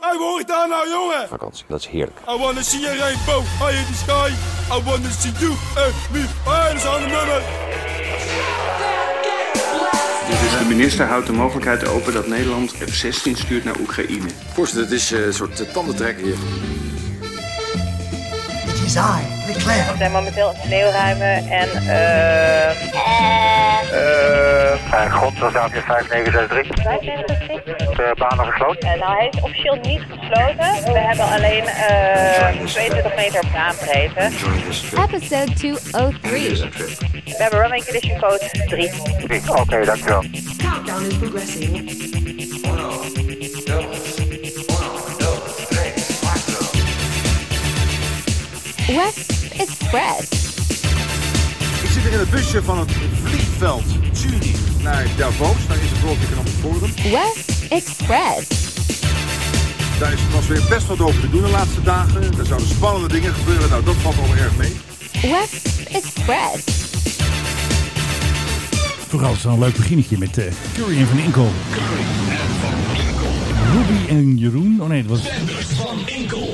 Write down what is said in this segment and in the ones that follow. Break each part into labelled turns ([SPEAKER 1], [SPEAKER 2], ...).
[SPEAKER 1] Waar hoort daar nou, jongen?
[SPEAKER 2] vakantie. Dat is heerlijk.
[SPEAKER 1] I wanna see a rainbow high in the sky. I wanna see you and me. Hey, dat is aan de nummer.
[SPEAKER 3] Dus de minister houdt de mogelijkheid open dat Nederland F-16 stuurt naar Oekraïne.
[SPEAKER 4] Voorzitter, het is eh, een soort eh, tandentrekker hier.
[SPEAKER 5] It is I, Leclerc.
[SPEAKER 6] We zijn momenteel aan het sneeuwruimen en... eh. eh.
[SPEAKER 7] Mijn god, wat staat hier 5963? De banen gesloten.
[SPEAKER 6] eh, nou, hij is officieel niet gesloten. We hebben alleen eh 22 meter op aanbreedte.
[SPEAKER 8] Episode 203.
[SPEAKER 6] We hebben running condition code 3.
[SPEAKER 7] Oké, dankjewel.
[SPEAKER 9] Countdown is progressing.
[SPEAKER 8] West Express.
[SPEAKER 4] Ik zit hier in het busje van het vliegveld Zurich naar Davos. Daar is het World Economic Forum.
[SPEAKER 8] West Express.
[SPEAKER 4] Daar is, was weer best wat over te doen de laatste dagen. Er zouden spannende dingen gebeuren. Nou, dat valt allemaal erg mee.
[SPEAKER 8] West Express.
[SPEAKER 10] Vooral is het een leuk beginnetje met eh Curry en Van Inkel. Ruby en Jeroen. Oh nee, het was.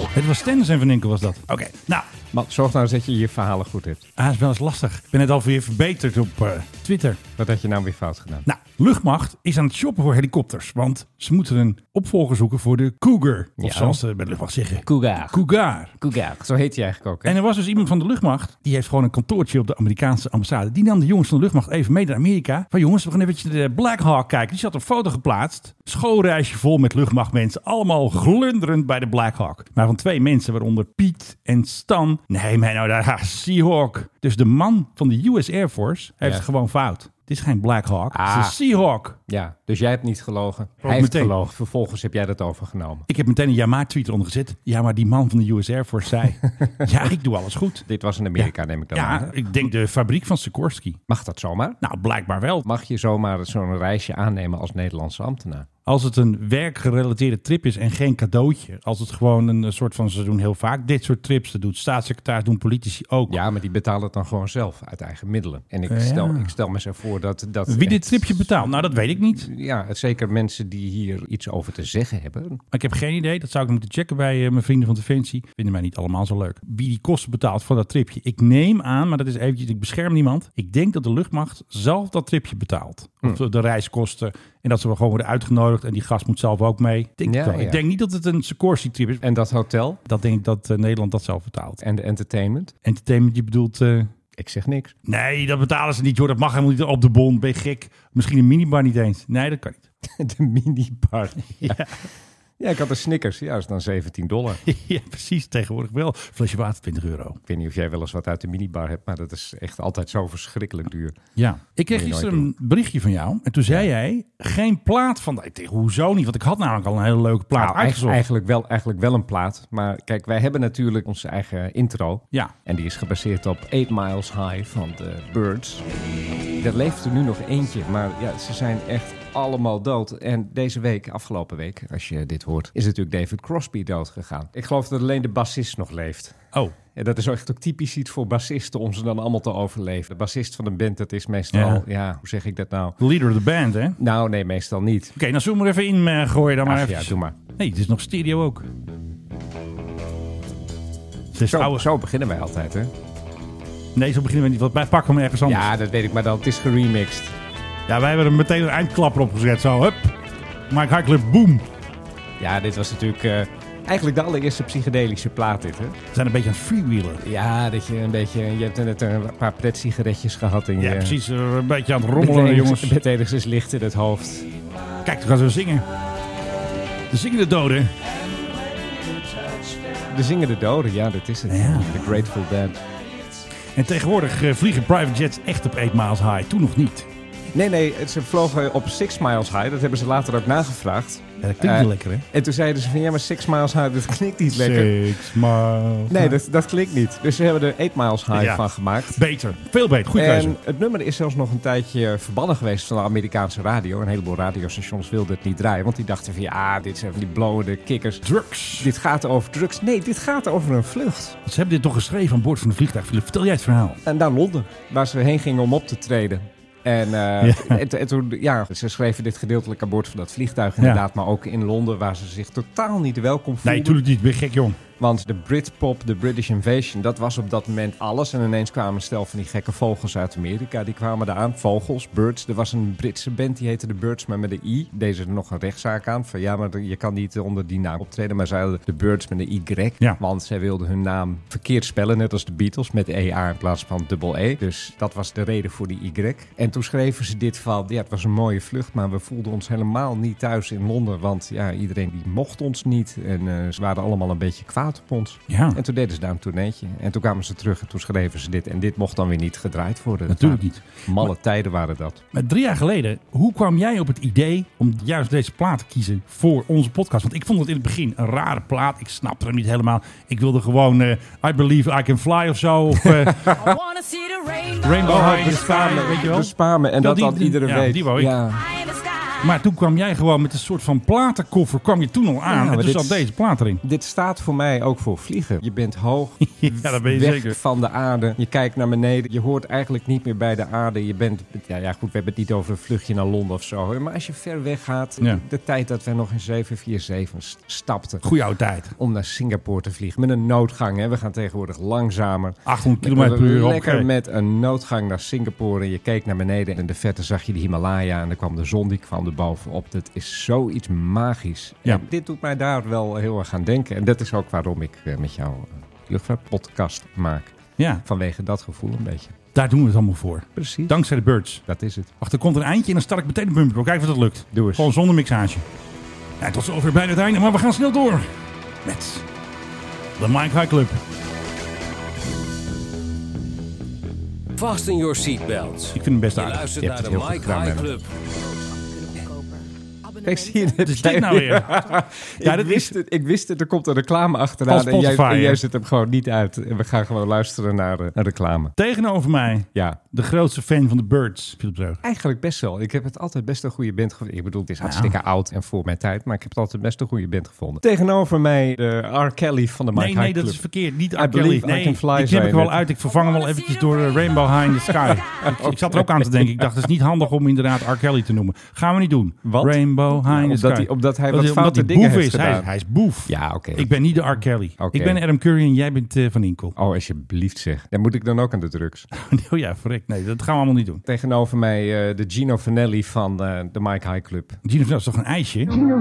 [SPEAKER 10] Het was Stenders en Van Inkel, was dat. Oké, nou.
[SPEAKER 11] Man, zorg nou eens dat je je verhalen goed hebt.
[SPEAKER 10] Ah, is wel eens lastig. Ik ben net alweer verbeterd op eh, Twitter.
[SPEAKER 11] Wat had je nou weer fout gedaan?
[SPEAKER 10] Nou, luchtmacht is aan het shoppen voor helikopters. Want ze moeten een opvolger zoeken voor de Cougar. Of
[SPEAKER 11] Ja.
[SPEAKER 10] zoals ze bij de luchtmacht zeggen.
[SPEAKER 11] Cougar.
[SPEAKER 10] Cougar.
[SPEAKER 11] Zo heet hij eigenlijk ook. Hè?
[SPEAKER 10] En er was dus iemand van de luchtmacht. Die heeft gewoon een kantoortje op de Amerikaanse ambassade. Die nam de jongens van de luchtmacht even mee naar Amerika. Van jongens, we gaan eventjes de Black Hawk kijken. Die zat een foto geplaatst. Schoolreisje vol met luchtmachtmensen. Allemaal glunderend bij de Black Hawk. Maar van twee mensen, waaronder Piet en Stan. Nee, mij nou daar. Seahawk. Dus de man van de US Air Force heeft
[SPEAKER 11] Ja.
[SPEAKER 10] het gewoon fout. Het is geen Black Hawk. Het
[SPEAKER 11] Ah.
[SPEAKER 10] is een Seahawk.
[SPEAKER 11] Ja, dus jij hebt niet gelogen. Hij heeft
[SPEAKER 10] Oh, meteen.
[SPEAKER 11] gelogen. Vervolgens heb jij dat overgenomen.
[SPEAKER 10] Ik heb meteen een ja maar tweet eronder gezet. Ja, maar die man van de US Air Force zei... ja, ik doe alles goed.
[SPEAKER 11] Dit was in Amerika, neem ik dan aan.
[SPEAKER 10] Ja,
[SPEAKER 11] hè?
[SPEAKER 10] ik denk de fabriek van Sikorsky.
[SPEAKER 11] Mag dat zomaar?
[SPEAKER 10] Nou, blijkbaar wel.
[SPEAKER 11] Mag je zomaar zo'n reisje aannemen als Nederlandse ambtenaar?
[SPEAKER 10] Als het een werkgerelateerde trip is en geen cadeautje. Als het gewoon een eh, soort van, ze doen heel vaak dit soort trips. Dat doet staatssecretaris, doen politici ook.
[SPEAKER 11] Ja, maar die betalen het dan gewoon zelf uit eigen middelen. En
[SPEAKER 10] Oh, Ja.
[SPEAKER 11] ik stel, ik stel me zo voor dat... dat
[SPEAKER 10] Wie dit
[SPEAKER 11] echt-
[SPEAKER 10] tripje betaalt? Nou, dat weet ik niet.
[SPEAKER 11] Ja, zeker mensen die hier iets over te zeggen hebben.
[SPEAKER 10] Maar ik heb geen idee. Dat zou ik moeten checken bij eh, mijn vrienden van Defensie. Vinden mij niet allemaal zo leuk. Wie die kosten betaalt voor dat tripje. Ik neem aan, maar dat is eventjes, ik bescherm niemand. Ik denk dat de luchtmacht zelf dat tripje betaalt.
[SPEAKER 11] Hm.
[SPEAKER 10] Of de reiskosten. En dat ze wel gewoon worden uitgenodigd. En die gast moet zelf ook mee. Ik denk,
[SPEAKER 11] Ja,
[SPEAKER 10] het wel.
[SPEAKER 11] ja.
[SPEAKER 10] Ik denk niet dat het een Sikorsky-trip is.
[SPEAKER 11] En dat hotel
[SPEAKER 10] Dat denk ik dat eh, Nederland dat zelf betaalt.
[SPEAKER 11] en de entertainment.
[SPEAKER 10] Entertainment, je bedoelt... eh,
[SPEAKER 11] Ik zeg niks.
[SPEAKER 10] Nee, dat betalen ze niet, hoor. Dat mag helemaal niet op de bon. Ben je gek? Misschien een minibar niet eens. Nee, dat kan niet.
[SPEAKER 11] De minibar. Ja. ja, ik had een Snickers. Ja, dat is dan 17 dollar.
[SPEAKER 10] ja, precies. Tegenwoordig wel. Flesje water, 20 euro.
[SPEAKER 11] Ik weet niet of jij wel eens wat uit de minibar hebt, maar dat is echt altijd zo verschrikkelijk duur.
[SPEAKER 10] Ja. Ik kreeg
[SPEAKER 11] Moet je nooit
[SPEAKER 10] gisteren een berichtje van jou. En toen zei jij, geen plaat vandaag. Ik dacht, hoezo niet? Want ik had namelijk al een hele leuke plaat
[SPEAKER 11] Nou, eigenlijk,
[SPEAKER 10] uitgezocht.
[SPEAKER 11] eigenlijk, wel, eigenlijk wel een plaat. Maar kijk, wij hebben natuurlijk onze eigen intro.
[SPEAKER 10] Ja.
[SPEAKER 11] En die is gebaseerd op 8 Miles High van de Birds. Er leeft er nu nog eentje, maar ja, ze zijn echt allemaal dood. En deze week, afgelopen week, als je dit hoort, is natuurlijk David Crosby dood gegaan. Ik geloof dat alleen de bassist nog leeft.
[SPEAKER 10] Oh,
[SPEAKER 11] En dat is echt ook typisch iets voor bassisten om ze dan allemaal te overleven. De bassist van een band, dat is meestal,
[SPEAKER 10] Ja.
[SPEAKER 11] ja, hoe zeg ik dat nou?
[SPEAKER 10] de leader of the band, hè? Oké,
[SPEAKER 11] Nou, nee, meestal niet.
[SPEAKER 10] nou zullen we er even in eh, gooien dan maar
[SPEAKER 11] Ach,
[SPEAKER 10] even.
[SPEAKER 11] ja, doe maar.
[SPEAKER 10] Nee, het is nog stereo ook. Het is
[SPEAKER 11] Zo,
[SPEAKER 10] oude...
[SPEAKER 11] zo beginnen wij altijd, hè?
[SPEAKER 10] Nee, zo beginnen we niet. Want wij pakken hem ergens anders.
[SPEAKER 11] Ja, dat weet ik, maar dan het is geremixed.
[SPEAKER 10] Ja, wij hebben er meteen een eindklapper op gezet. Zo, hup. Mike Harklip, boom.
[SPEAKER 11] Ja, dit was natuurlijk eh, eigenlijk de allereerste psychedelische plaat dit, hè?
[SPEAKER 10] We zijn een beetje aan het freewheelen.
[SPEAKER 11] Ja, dat je een beetje... Je hebt net een paar pret-sigaretjes gehad in
[SPEAKER 10] Ja,
[SPEAKER 11] je...
[SPEAKER 10] precies. eh, Een beetje aan het
[SPEAKER 11] Met
[SPEAKER 10] rommelen,
[SPEAKER 11] enigszins-
[SPEAKER 10] jongens.
[SPEAKER 11] Met enigszins licht in het hoofd.
[SPEAKER 10] Kijk, toen gaan ze zingen. De zingende doden.
[SPEAKER 11] De zingende doden, ja, dat is het.
[SPEAKER 10] Ja.
[SPEAKER 11] The Grateful Dead.
[SPEAKER 10] En tegenwoordig eh, vliegen private jets echt op 8 miles high. Toen nog niet.
[SPEAKER 11] Nee, nee, ze vlogen op Six Miles High. Dat hebben ze later ook nagevraagd.
[SPEAKER 10] Ja, dat klinkt
[SPEAKER 11] Eh,
[SPEAKER 10] niet lekker, hè?
[SPEAKER 11] En toen zeiden ze van, ja, maar Six Miles High, dat klinkt niet lekker.
[SPEAKER 10] Six miles.
[SPEAKER 11] Nee, dat, dat klinkt niet. Dus ze hebben er 8 Miles High
[SPEAKER 10] Ja.
[SPEAKER 11] van gemaakt.
[SPEAKER 10] Beter. Veel beter. Goede keuze.
[SPEAKER 11] En het nummer is zelfs nog een tijdje verbannen geweest van de Amerikaanse radio. Een heleboel radiostations wilden het niet draaien. Want die dachten van ja, dit zijn van die blowende kikkers.
[SPEAKER 10] Drugs.
[SPEAKER 11] Dit gaat over drugs. Nee, dit gaat over een vlucht.
[SPEAKER 10] Ze hebben dit toch geschreven aan boord van een vliegtuig. Philip, vertel jij het verhaal.
[SPEAKER 11] En naar Londen, waar ze heen gingen om op te treden. En, eh,
[SPEAKER 10] Ja.
[SPEAKER 11] en, en toen, ja, ze schreven dit gedeeltelijk aan boord van dat vliegtuig inderdaad. Maar ook in Londen, waar ze zich totaal niet welkom voelden.
[SPEAKER 10] Nee, natuurlijk niet. Ben je gek, jong.
[SPEAKER 11] Want de Britpop, de British Invasion, dat was op dat moment alles. En ineens kwamen een stel van die gekke vogels uit Amerika. Die kwamen daar aan. Vogels, Birds. Er was een Britse band, die heette de Birds, maar met een I. Deze er nog een rechtszaak aan. Van ja, maar je kan niet onder die naam optreden. Maar zij hadden de Birds met een Y.
[SPEAKER 10] Ja.
[SPEAKER 11] Want zij wilden hun naam verkeerd spellen. Net als de Beatles met EA in plaats van dubbel E. Dus dat was de reden voor die Y. En toen schreven ze dit van, ja, het was een mooie vlucht. Maar we voelden ons helemaal niet thuis in Londen. Want ja, iedereen die mocht ons niet. En eh, ze waren allemaal een beetje kwaad op ons.
[SPEAKER 10] Ja,
[SPEAKER 11] En toen deden ze daar een tourneetje. En toen kwamen ze terug en toen schreven ze dit. En dit mocht dan weer niet gedraaid worden. Dat
[SPEAKER 10] natuurlijk
[SPEAKER 11] waren
[SPEAKER 10] niet.
[SPEAKER 11] Malle tijden waren dat.
[SPEAKER 10] Maar drie jaar geleden, hoe kwam jij op het idee om juist deze plaat te kiezen voor onze podcast? Want ik vond het in het begin een rare plaat. Ik snapte hem niet helemaal. Ik wilde gewoon eh, I Believe I Can Fly of zo. Of eh,
[SPEAKER 9] I wanna see the rainbow
[SPEAKER 10] Rainbow
[SPEAKER 11] Oh,
[SPEAKER 10] High in the Sky, weet je wel.
[SPEAKER 11] De spamen. En
[SPEAKER 10] Ja,
[SPEAKER 11] dat
[SPEAKER 10] die-
[SPEAKER 11] had
[SPEAKER 10] die-
[SPEAKER 11] iedere
[SPEAKER 10] ja,
[SPEAKER 11] week.
[SPEAKER 10] die wou ik.
[SPEAKER 11] Ja,
[SPEAKER 9] in the sky.
[SPEAKER 10] Maar toen kwam jij gewoon met een soort van platenkoffer, kwam je toen al aan.
[SPEAKER 11] maar
[SPEAKER 10] en toen
[SPEAKER 11] dit
[SPEAKER 10] zat
[SPEAKER 11] is-
[SPEAKER 10] deze plaat erin.
[SPEAKER 11] dit staat voor mij ook voor vliegen. Je bent hoog,
[SPEAKER 10] Ja, dat ben je
[SPEAKER 11] weg
[SPEAKER 10] zeker.
[SPEAKER 11] van de aarde. Je kijkt naar beneden. Je hoort eigenlijk niet meer bij de aarde. Je bent, ja, ja goed, we hebben het niet over een vluchtje naar Londen of zo. Maar als je ver weg gaat,
[SPEAKER 10] Ja.
[SPEAKER 11] de tijd dat wij nog in 747 st- stapten
[SPEAKER 10] Goeie oude tijd.
[SPEAKER 11] om naar Singapore te vliegen met een noodgang. Hè. We gaan tegenwoordig langzamer.
[SPEAKER 10] 800 km per uur eh,
[SPEAKER 11] Lekker
[SPEAKER 10] opgereden.
[SPEAKER 11] met een noodgang naar Singapore. En je keek naar beneden en in de verte zag je de Himalaya. En dan kwam de zon, die kwam er bovenop. Dat is zoiets magisch.
[SPEAKER 10] Ja.
[SPEAKER 11] En dit doet mij daar wel heel erg aan denken. En dat is ook waarom ik eh, met jou een luchtvaartpodcast maak.
[SPEAKER 10] Ja,
[SPEAKER 11] Vanwege dat gevoel een beetje.
[SPEAKER 10] daar doen we het allemaal voor.
[SPEAKER 11] Precies.
[SPEAKER 10] Dankzij de Birds.
[SPEAKER 11] Dat is het.
[SPEAKER 10] Wacht, er komt een eindje en dan start ik meteen de bumper. op. Kijk of dat lukt.
[SPEAKER 11] Doe eens.
[SPEAKER 10] Gewoon zonder mixage. Ja, tot zover bijna het einde, maar we gaan snel door. Met de Mike High Club.
[SPEAKER 2] Vast in your seatbelts.
[SPEAKER 10] Ik vind hem best
[SPEAKER 2] Je
[SPEAKER 10] aardig.
[SPEAKER 2] luistert
[SPEAKER 11] Je
[SPEAKER 2] naar
[SPEAKER 11] hebt
[SPEAKER 2] de
[SPEAKER 11] het heel goed
[SPEAKER 2] Mike
[SPEAKER 11] gedaan,
[SPEAKER 2] High
[SPEAKER 11] Menno.
[SPEAKER 2] Club.
[SPEAKER 11] Kijk, zie je dit?
[SPEAKER 10] Wat is dit nou weer? Ja,
[SPEAKER 11] ik,
[SPEAKER 10] dat
[SPEAKER 11] wist
[SPEAKER 10] is-
[SPEAKER 11] het, ik wist het, er komt een reclame achteraan.
[SPEAKER 10] Van
[SPEAKER 11] En jij,
[SPEAKER 10] Spotify,
[SPEAKER 11] en jij
[SPEAKER 10] hè?
[SPEAKER 11] zet hem gewoon niet uit. En we gaan gewoon luisteren naar eh, een reclame.
[SPEAKER 10] Tegenover mij,
[SPEAKER 11] Ja,
[SPEAKER 10] de grootste fan van de Birds, Philip Dreugen.
[SPEAKER 11] Eigenlijk best wel. Ik heb het altijd best een goede band gevonden. Ik bedoel, het is hartstikke oud en voor mijn tijd, maar ik heb het altijd best een goede band gevonden. Tegenover mij de R. Kelly van de Mike
[SPEAKER 10] Nee, nee,
[SPEAKER 11] High
[SPEAKER 10] dat is
[SPEAKER 11] Club.
[SPEAKER 10] verkeerd. Niet
[SPEAKER 11] I
[SPEAKER 10] R. Kelly.
[SPEAKER 11] believe I
[SPEAKER 10] Nee,
[SPEAKER 11] can fly,
[SPEAKER 10] die knip
[SPEAKER 11] zei
[SPEAKER 10] ik
[SPEAKER 11] je
[SPEAKER 10] wel
[SPEAKER 11] net.
[SPEAKER 10] uit. Ik vervang hem wel eventjes door eh, Rainbow High in the Sky. ik, ik zat er ook aan te denken. Ik dacht, het is niet handig om inderdaad R. Kelly te noemen. Gaan we niet doen.
[SPEAKER 11] Wat?
[SPEAKER 10] Rainbow High in the
[SPEAKER 11] Omdat
[SPEAKER 10] Sky.
[SPEAKER 11] hij- omdat hij
[SPEAKER 10] Dat
[SPEAKER 11] wat
[SPEAKER 10] is- omdat
[SPEAKER 11] foute
[SPEAKER 10] hij
[SPEAKER 11] dingen
[SPEAKER 10] boef
[SPEAKER 11] heeft
[SPEAKER 10] is. Hij,
[SPEAKER 11] gedaan.
[SPEAKER 10] hij is boef.
[SPEAKER 11] Ja, oké.
[SPEAKER 10] Ik ben niet de R. Kelly.
[SPEAKER 11] Oké.
[SPEAKER 10] Ik ben Adam Curry en jij bent eh, Van Inkel.
[SPEAKER 11] Oh, alsjeblieft zeg. Dan moet ik dan ook aan de drugs.
[SPEAKER 10] Oh ja, verrek. Nee, dat gaan we allemaal niet doen.
[SPEAKER 11] Tegenover mij eh, de Gino Vanelli van eh, de Mike High Club.
[SPEAKER 10] Gino Vanelli is toch een ijsje?
[SPEAKER 11] Nee, Gino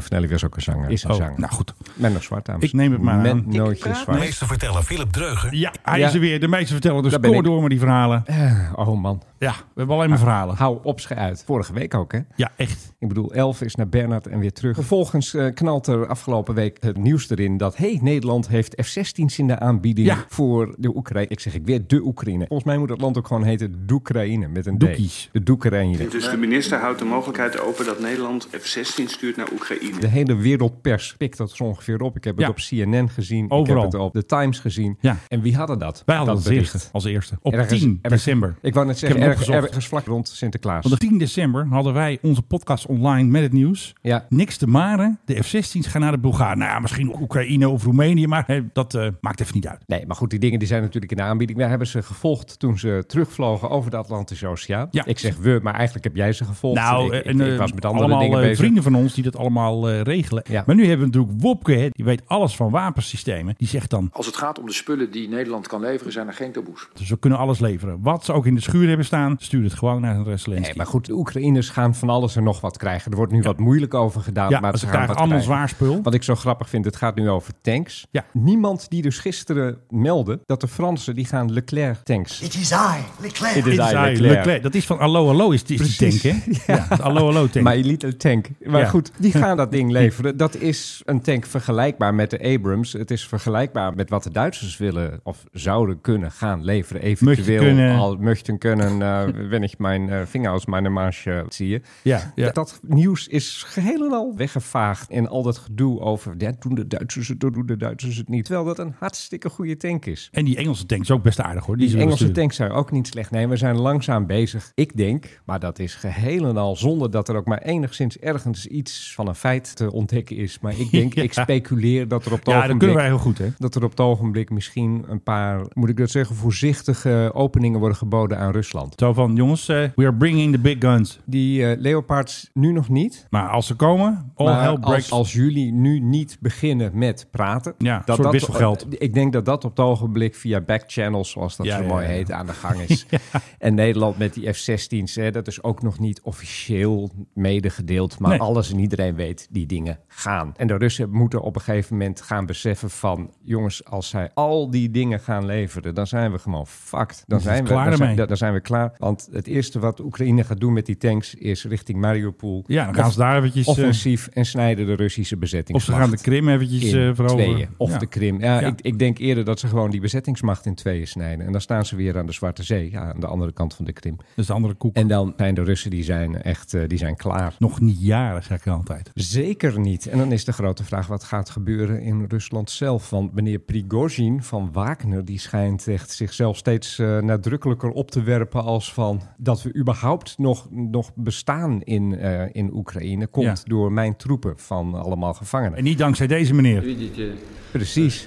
[SPEAKER 11] Vanelli was ook een zanger. Is een
[SPEAKER 10] Oh,
[SPEAKER 11] zanger.
[SPEAKER 10] nou goed.
[SPEAKER 11] Menno Zwart, dames.
[SPEAKER 10] Ik neem het maar aan.
[SPEAKER 11] Mennootje Zwart.
[SPEAKER 2] vertellen Philip Dreugen.
[SPEAKER 10] Ja, hij
[SPEAKER 11] Ja.
[SPEAKER 10] is er weer. De meeste vertellen dus
[SPEAKER 11] Daar ben
[SPEAKER 10] kom
[SPEAKER 11] ik.
[SPEAKER 10] door met die verhalen.
[SPEAKER 11] Oh man.
[SPEAKER 10] Ja, we hebben alleen maar verhalen.
[SPEAKER 11] Hou op, schei uit. Vorige week ook, hè?
[SPEAKER 10] Ja, echt.
[SPEAKER 11] Ik bedoel, Elf is naar Bernard en weer terug. Vervolgens eh, knalt er afgelopen week het nieuws erin dat... hey, Nederland heeft F-16's in de aanbieding
[SPEAKER 10] Ja.
[SPEAKER 11] voor de Oekraïne. Ik zeg ik weer de Oekraïne. Volgens mij moet het land ook gewoon heten Doekraïne met een D.
[SPEAKER 10] Doekies.
[SPEAKER 11] De Doekraïne.
[SPEAKER 3] Dus de minister houdt de mogelijkheid open dat Nederland F-16 stuurt naar Oekraïne.
[SPEAKER 11] De hele wereldpers pikt dat zo ongeveer op. Ik heb het
[SPEAKER 10] Ja.
[SPEAKER 11] op CNN gezien.
[SPEAKER 10] Overal.
[SPEAKER 11] Ik heb het op The Times gezien.
[SPEAKER 10] Ja.
[SPEAKER 11] En wie hadden dat?
[SPEAKER 10] Wij hadden
[SPEAKER 11] dat
[SPEAKER 10] het als eerste. Als eerste. Op
[SPEAKER 11] Ergens-
[SPEAKER 10] 10
[SPEAKER 11] ergens-
[SPEAKER 10] december.
[SPEAKER 11] Ik wou net
[SPEAKER 10] heb
[SPEAKER 11] zeggen,
[SPEAKER 10] hem
[SPEAKER 11] ergens,
[SPEAKER 10] opgezocht.
[SPEAKER 11] ergens vlak rond Sinterklaas.
[SPEAKER 10] Want op 10 december hadden wij onze podcast online met het nieuws.
[SPEAKER 11] Ja.
[SPEAKER 10] Niks te maren. De F-16's gaan naar de Bulgaren. Nou ja, misschien ook Oekraïne of Roemenië. Maar hè, dat eh, maakt even niet uit.
[SPEAKER 11] Nee, maar goed, die dingen die zijn natuurlijk in de aanbieding. Daar hebben ze gevolgd toen ze terugvlogen over de Atlantische Oceaan.
[SPEAKER 10] Ja.
[SPEAKER 11] Ik zeg we, maar eigenlijk heb jij ze gevolgd.
[SPEAKER 10] Nou,
[SPEAKER 11] ik, ik-
[SPEAKER 10] en,
[SPEAKER 11] ik
[SPEAKER 10] eh,
[SPEAKER 11] was met andere
[SPEAKER 10] allemaal
[SPEAKER 11] dingen
[SPEAKER 10] eh,
[SPEAKER 11] bezig.
[SPEAKER 10] vrienden van ons die dat allemaal eh, regelen.
[SPEAKER 11] Ja.
[SPEAKER 10] Maar nu hebben we natuurlijk Wopke, hè, die weet alles van wapensystemen. Die zegt dan,
[SPEAKER 12] Als het gaat om de spullen die Nederland kan leveren, zijn er geen taboes.
[SPEAKER 10] Dus we kunnen alles leveren. Wat ze ook in de schuur hebben staan, stuur het gewoon naar een Zelensky.
[SPEAKER 11] Nee, maar goed, de Oekraïners gaan van alles en nog wat krijgen. Er wordt nu wat moeilijk over gedaan.
[SPEAKER 10] ja,
[SPEAKER 11] maar
[SPEAKER 10] ze
[SPEAKER 11] ze gaan
[SPEAKER 10] krijgen
[SPEAKER 11] wat
[SPEAKER 10] allemaal
[SPEAKER 11] krijgen.
[SPEAKER 10] zwaar spul.
[SPEAKER 11] Wat ik zo grappig vind, het gaat nu over tanks.
[SPEAKER 10] Ja.
[SPEAKER 11] Niemand die dus gisteren meldde dat de Fransen die gaan Leclerc tanks.
[SPEAKER 5] It is I, Leclerc.
[SPEAKER 10] Dit is
[SPEAKER 11] Leclerc.
[SPEAKER 10] eigenlijk Leclerc. Dat is van Allo Allo is, is die tank,
[SPEAKER 11] Precies.
[SPEAKER 10] hè? Ja, het Allo Allo tank.
[SPEAKER 11] My Little Tank. Maar
[SPEAKER 10] Ja.
[SPEAKER 11] goed, die gaan dat ding leveren. Dat is een tank vergelijkbaar met de Abrams. Het is vergelijkbaar met wat de Duitsers willen of zouden kunnen gaan leveren. Eventueel
[SPEAKER 10] kunnen.
[SPEAKER 11] al möchten kunnen. een, eh wenn ik mijn eh, vinger als mijn marge zie.
[SPEAKER 10] Ja, ja.
[SPEAKER 11] Dat, dat nieuws is geheel en al weggevaagd. En al dat gedoe over, ja, doen de Duitsers het, doen de Duitsers het niet. Terwijl dat een hartstikke goede tank is.
[SPEAKER 10] En die Engelse tank is ook best aardig hoor.
[SPEAKER 11] Die
[SPEAKER 10] zullen we
[SPEAKER 11] Engelse
[SPEAKER 10] sturen.
[SPEAKER 11] tanks zijn ook niet slecht. Nee, we zijn langzaam bezig. Ik denk, maar dat is geheel en al zonder dat er ook maar enigszins ergens iets van een feit te ontdekken is. Maar ik denk,
[SPEAKER 10] Ja.
[SPEAKER 11] ik speculeer dat er op het
[SPEAKER 10] Ja, dat
[SPEAKER 11] ogenblik...
[SPEAKER 10] kunnen wij heel goed hè.
[SPEAKER 11] Dat er op het ogenblik misschien een paar, moet ik dat zeggen, voorzichtige openingen worden geboden aan Rusland.
[SPEAKER 10] Zo van, jongens, eh, we are bringing the big guns.
[SPEAKER 11] Die eh, Leopards nu nog niet.
[SPEAKER 10] Maar als ze komen, all
[SPEAKER 11] maar
[SPEAKER 10] hell breaks.
[SPEAKER 11] als, als jullie nu niet beginnen met praten...
[SPEAKER 10] Ja, een soort wisselgeld.
[SPEAKER 11] Ik denk dat dat op het ogenblik via backchannels, zoals dat
[SPEAKER 10] Ja,
[SPEAKER 11] zo
[SPEAKER 10] ja,
[SPEAKER 11] mooi
[SPEAKER 10] ja.
[SPEAKER 11] heet, aan de gang is. En Nederland met die F-16's, hè, dat is ook nog niet officieel medegedeeld. Maar
[SPEAKER 10] Nee.
[SPEAKER 11] alles en iedereen weet, die dingen gaan. En de Russen moeten op een gegeven moment gaan beseffen van... jongens, als zij al die dingen gaan leveren, dan zijn we gewoon fucked. Dan
[SPEAKER 10] is
[SPEAKER 11] zijn, we,
[SPEAKER 10] klaar
[SPEAKER 11] dan, zijn,
[SPEAKER 10] ermee.
[SPEAKER 11] dan zijn we klaar. Want het eerste wat Oekraïne gaat doen met die tanks is richting Mariupol.
[SPEAKER 10] Ja, dan gaan
[SPEAKER 11] Of-
[SPEAKER 10] ze daar eventjes, eh,
[SPEAKER 11] Offensief en snijden de Russische bezetting.
[SPEAKER 10] Of ze gaan de Krim eventjes,
[SPEAKER 11] in
[SPEAKER 10] eh, veroveren.
[SPEAKER 11] tweeën. Of
[SPEAKER 10] Ja.
[SPEAKER 11] de Krim. Ja,
[SPEAKER 10] Ja.
[SPEAKER 11] Ik, ik denk eerder dat ze gewoon die bezettingsmacht in tweeën snijden. En dan staan ze weer aan de Zwarte Zee, ja, aan de andere kant van de Krim.
[SPEAKER 10] Dus de andere koek.
[SPEAKER 11] En dan zijn de Russen die zijn echt eh, die zijn klaar.
[SPEAKER 10] Nog niet jaren, zeg ik altijd.
[SPEAKER 11] Zeker niet. En dan is de grote vraag wat gaat gebeuren in Rusland zelf. Want meneer Prigozhin van Wagner die schijnt echt zichzelf steeds eh, nadrukkelijker op te werpen als van dat we überhaupt nog, nog bestaan in, eh, in Oekraïne komt
[SPEAKER 10] Ja.
[SPEAKER 11] door mijn troepen van allemaal gevangenen.
[SPEAKER 10] En niet dankzij deze meneer.
[SPEAKER 11] Precies.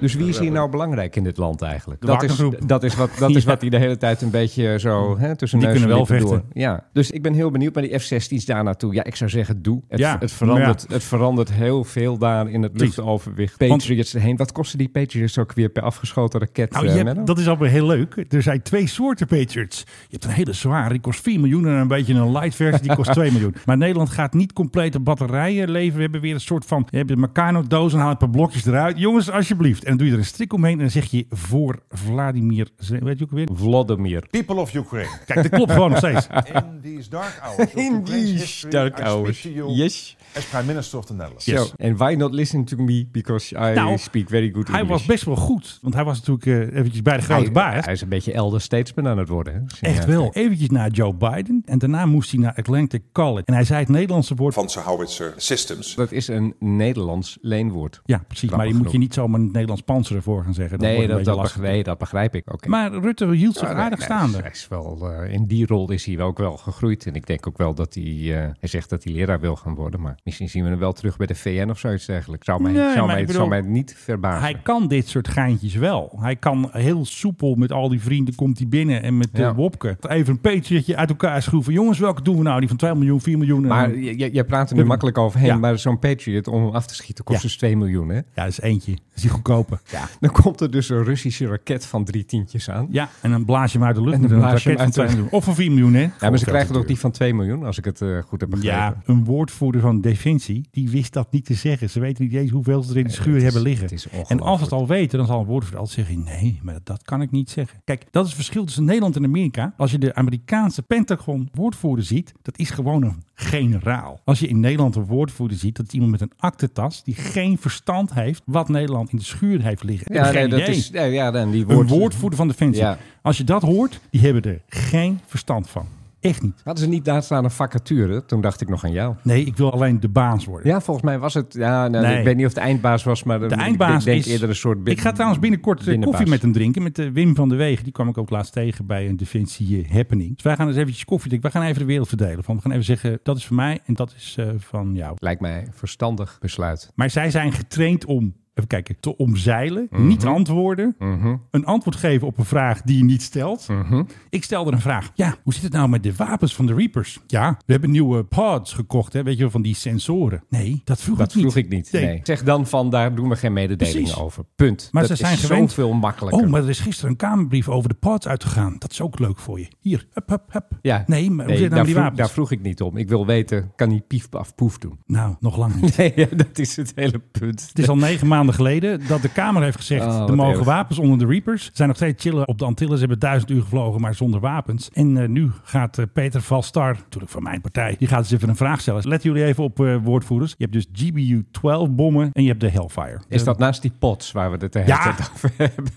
[SPEAKER 11] Dus wie is hier nou belangrijk in dit land eigenlijk?
[SPEAKER 10] De
[SPEAKER 11] dat, is,
[SPEAKER 10] Wagnergroep.
[SPEAKER 11] dat is wat dat is
[SPEAKER 10] Ja.
[SPEAKER 11] wat hij de hele tijd een beetje zo hè, tussen
[SPEAKER 10] Die
[SPEAKER 11] neus en
[SPEAKER 10] kunnen wel
[SPEAKER 11] lippen door.
[SPEAKER 10] vechten.
[SPEAKER 11] Ja. Dus ik ben heel benieuwd naar die F-16's daar naartoe. Ja, ik zou zeggen doe. Het,
[SPEAKER 10] Ja,
[SPEAKER 11] het, verandert,
[SPEAKER 10] maar ja.
[SPEAKER 11] het verandert heel veel daar in het
[SPEAKER 10] Precies.
[SPEAKER 11] luchtoverwicht.
[SPEAKER 10] Want-
[SPEAKER 11] Patriots erheen. Wat kosten die Patriots ook weer per afgeschoten raket?
[SPEAKER 10] Nou,
[SPEAKER 11] eh,
[SPEAKER 10] je hebt-
[SPEAKER 11] Menno?
[SPEAKER 10] dat is alweer heel leuk. Er zijn twee soorten Patriots. Je hebt een hele zware, die kost 4 miljoen. En een beetje een light versie, die kost 2 miljoen. Maar Nederland gaat niet complete batterijen leveren. We hebben weer een soort van, je hebt een Meccano-doos en haal een paar blokjes eruit. Jongens, alsjeblieft. En dan doe je er een strik omheen en dan zeg je voor Vladimir, Ze- weet je ook weer?
[SPEAKER 11] Vladimir.
[SPEAKER 13] People of Ukraine.
[SPEAKER 10] Kijk, dat klopt gewoon nog steeds.
[SPEAKER 13] In these dark
[SPEAKER 10] Nou,
[SPEAKER 13] hours.
[SPEAKER 11] In these
[SPEAKER 10] eh,
[SPEAKER 11] dark hours.
[SPEAKER 13] hours.
[SPEAKER 11] Yes.
[SPEAKER 13] As Prime Minister of the Netherlands.
[SPEAKER 11] Zo. And why not listen to me? Because I
[SPEAKER 10] Nou,
[SPEAKER 11] speak very good English.
[SPEAKER 10] Hij was best wel goed, want hij was natuurlijk eh, eventjes bij de grote
[SPEAKER 11] Hij-
[SPEAKER 10] baas.
[SPEAKER 11] Hij is een beetje elder statesman aan het worden. hè?
[SPEAKER 10] Echt wel. Eventjes naar Joe Biden. En daarna moest hij naar Atlantic College. En hij zei het Nederlandse woord.
[SPEAKER 13] Van zijn howitzer systems.
[SPEAKER 11] Dat is een Nederlands leenwoord.
[SPEAKER 10] Ja, precies.
[SPEAKER 11] Grappig
[SPEAKER 10] maar die moet je
[SPEAKER 11] genoeg.
[SPEAKER 10] niet zomaar in het Nederlands panzer voor gaan zeggen.
[SPEAKER 11] Nee,
[SPEAKER 10] wordt een
[SPEAKER 11] dat,
[SPEAKER 10] beetje
[SPEAKER 11] dat,
[SPEAKER 10] lastig.
[SPEAKER 11] begrijp, dat begrijp ik. Oké.
[SPEAKER 10] Maar Rutte hield zich
[SPEAKER 11] Ja, Ah, nee,
[SPEAKER 10] aardig
[SPEAKER 11] nee,
[SPEAKER 10] staande.
[SPEAKER 11] Hij is wel, eh, in die rol is hij wel ook wel gegroeid. En ik denk ook wel dat hij, eh, hij zegt dat hij leraar wil gaan worden. Maar misschien zien we hem wel terug bij de VN of zoiets dergelijks. Zou mij,
[SPEAKER 10] Nee,
[SPEAKER 11] zou
[SPEAKER 10] maar
[SPEAKER 11] mij,
[SPEAKER 10] ik
[SPEAKER 11] zou
[SPEAKER 10] bedoel,
[SPEAKER 11] mij niet verbazen.
[SPEAKER 10] Hij kan dit soort geintjes wel. Hij kan heel soepel met al die vrienden komt hij binnen en met eh,
[SPEAKER 11] Ja.
[SPEAKER 10] Wopke. Even een peetje uit elkaar schroeven. Jongens, welke doen we nou? Die van 2 miljoen, 4 miljoen. en-
[SPEAKER 11] maar j- j- jij praat er nu makkelijk overheen.
[SPEAKER 10] Ja.
[SPEAKER 11] Maar zo'n Patriot, om hem af te schieten, kost
[SPEAKER 10] Ja.
[SPEAKER 11] dus 2 miljoen. Hè?
[SPEAKER 10] Ja, dat is eentje. Dat is die goedkope. Ja.
[SPEAKER 11] Dan komt er dus een Russische raket van drie tientjes aan.
[SPEAKER 10] ja, en dan blaas je hem uit de lucht
[SPEAKER 11] En
[SPEAKER 10] met
[SPEAKER 11] dan
[SPEAKER 10] een
[SPEAKER 11] blaas je hem
[SPEAKER 10] raket van
[SPEAKER 11] uit de-
[SPEAKER 10] 2 miljoen. Of van 4 miljoen, hè?
[SPEAKER 11] Ja, maar ze
[SPEAKER 10] Gewoon
[SPEAKER 11] krijgen toch
[SPEAKER 10] natuurlijk.
[SPEAKER 11] die van 2 miljoen, als ik het eh, goed heb begrepen.
[SPEAKER 10] Ja, een woordvoerder van Defensie, die wist dat niet te zeggen. Ze weten niet eens hoeveel ze er in de schuur
[SPEAKER 11] het is-
[SPEAKER 10] hebben liggen.
[SPEAKER 11] het is
[SPEAKER 10] en als ze
[SPEAKER 11] ongelooflijk.
[SPEAKER 10] het al weten, dan zal een woordvoerder altijd zeggen... nee, maar dat kan ik niet zeggen. Kijk, dat is het verschil tussen Nederland en Amerika. Als je de Amerikaanse Pentagon woordvoerder ziet, dat is gewoon een generaal. Als je in Nederland een woordvoerder ziet, dat is iemand met een aktentas... die geen verstand heeft wat Nederland in de schuur heeft liggen.
[SPEAKER 11] Ja,
[SPEAKER 10] Geen
[SPEAKER 11] nee, dat
[SPEAKER 10] idee.
[SPEAKER 11] is, ja, ja, dan die
[SPEAKER 10] Een
[SPEAKER 11] woord,
[SPEAKER 10] woordvoerder van Defensie.
[SPEAKER 11] Ja.
[SPEAKER 10] Als je dat hoort, die hebben er geen verstand van. Echt niet.
[SPEAKER 11] Hadden ze niet daar staan een vacature? Toen dacht ik nog aan jou.
[SPEAKER 10] Nee, ik wil alleen de baas worden.
[SPEAKER 11] Ja, volgens mij was het. Ja, nou,
[SPEAKER 10] Nee.
[SPEAKER 11] Ik weet niet of de eindbaas was, maar
[SPEAKER 10] De eindbaas
[SPEAKER 11] Ehm, ik denk
[SPEAKER 10] is...
[SPEAKER 11] eerder een soort. bin-
[SPEAKER 10] ik ga trouwens binnenkort eh,
[SPEAKER 11] binnenbaas.
[SPEAKER 10] koffie met hem drinken. Met eh, Wim van der Wegen. Die kwam ik ook laatst tegen bij een Defensie eh, Happening. Dus wij gaan eens eventjes koffie drinken. Wij gaan even de wereld verdelen. Van, we gaan even zeggen, dat is van mij en dat is eh, van jou.
[SPEAKER 11] Lijkt mij verstandig besluit.
[SPEAKER 10] Maar zij zijn getraind om, even kijken, te omzeilen.
[SPEAKER 11] Mhm.
[SPEAKER 10] Niet antwoorden. Een antwoord geven op een vraag die je niet stelt.
[SPEAKER 11] Mhm.
[SPEAKER 10] Ik stelde een vraag. Ja, hoe zit het nou met de wapens van de Reapers? Ja, we hebben nieuwe pods gekocht. Hè? Weet je wel, van die sensoren. Nee, dat vroeg
[SPEAKER 11] Dat
[SPEAKER 10] ik niet.
[SPEAKER 11] vroeg ik niet. Nee. Zeg dan van daar doen we geen mededelingen
[SPEAKER 10] Precies.
[SPEAKER 11] over. Punt.
[SPEAKER 10] Maar
[SPEAKER 11] dat
[SPEAKER 10] ze zijn
[SPEAKER 11] is
[SPEAKER 10] gewend.
[SPEAKER 11] zoveel makkelijker.
[SPEAKER 10] Oh, maar er is gisteren een kamerbrief over de pods uitgegaan. Dat is ook leuk voor je. Hier, hup, hup, hup.
[SPEAKER 11] ja.
[SPEAKER 10] Nee, maar hoe zit het
[SPEAKER 11] daar,
[SPEAKER 10] nou met die
[SPEAKER 11] vroeg,
[SPEAKER 10] wapens?
[SPEAKER 11] daar vroeg ik niet om. Ik wil weten, kan die pief af poef doen?
[SPEAKER 10] Nou, nog lang niet.
[SPEAKER 11] Nee, ja, dat is het hele punt.
[SPEAKER 10] Het is al negen maanden maanden geleden dat de Kamer heeft gezegd...
[SPEAKER 11] Oh, wat
[SPEAKER 10] er mogen
[SPEAKER 11] erg.
[SPEAKER 10] wapens onder de Reapers. Ze zijn nog steeds chillen op de Antilles. Ze hebben duizend uur gevlogen, maar zonder wapens. En eh, nu gaat eh, Peter Valstar, natuurlijk van mijn partij... die gaat eens even een vraag stellen. Let jullie even op eh, woordvoerders. Je hebt dus GBU-12-bommen en je hebt de Hellfire.
[SPEAKER 11] Is dat naast die pots waar we het de hele
[SPEAKER 10] Ehm, Ja.
[SPEAKER 11] tijd over hebben?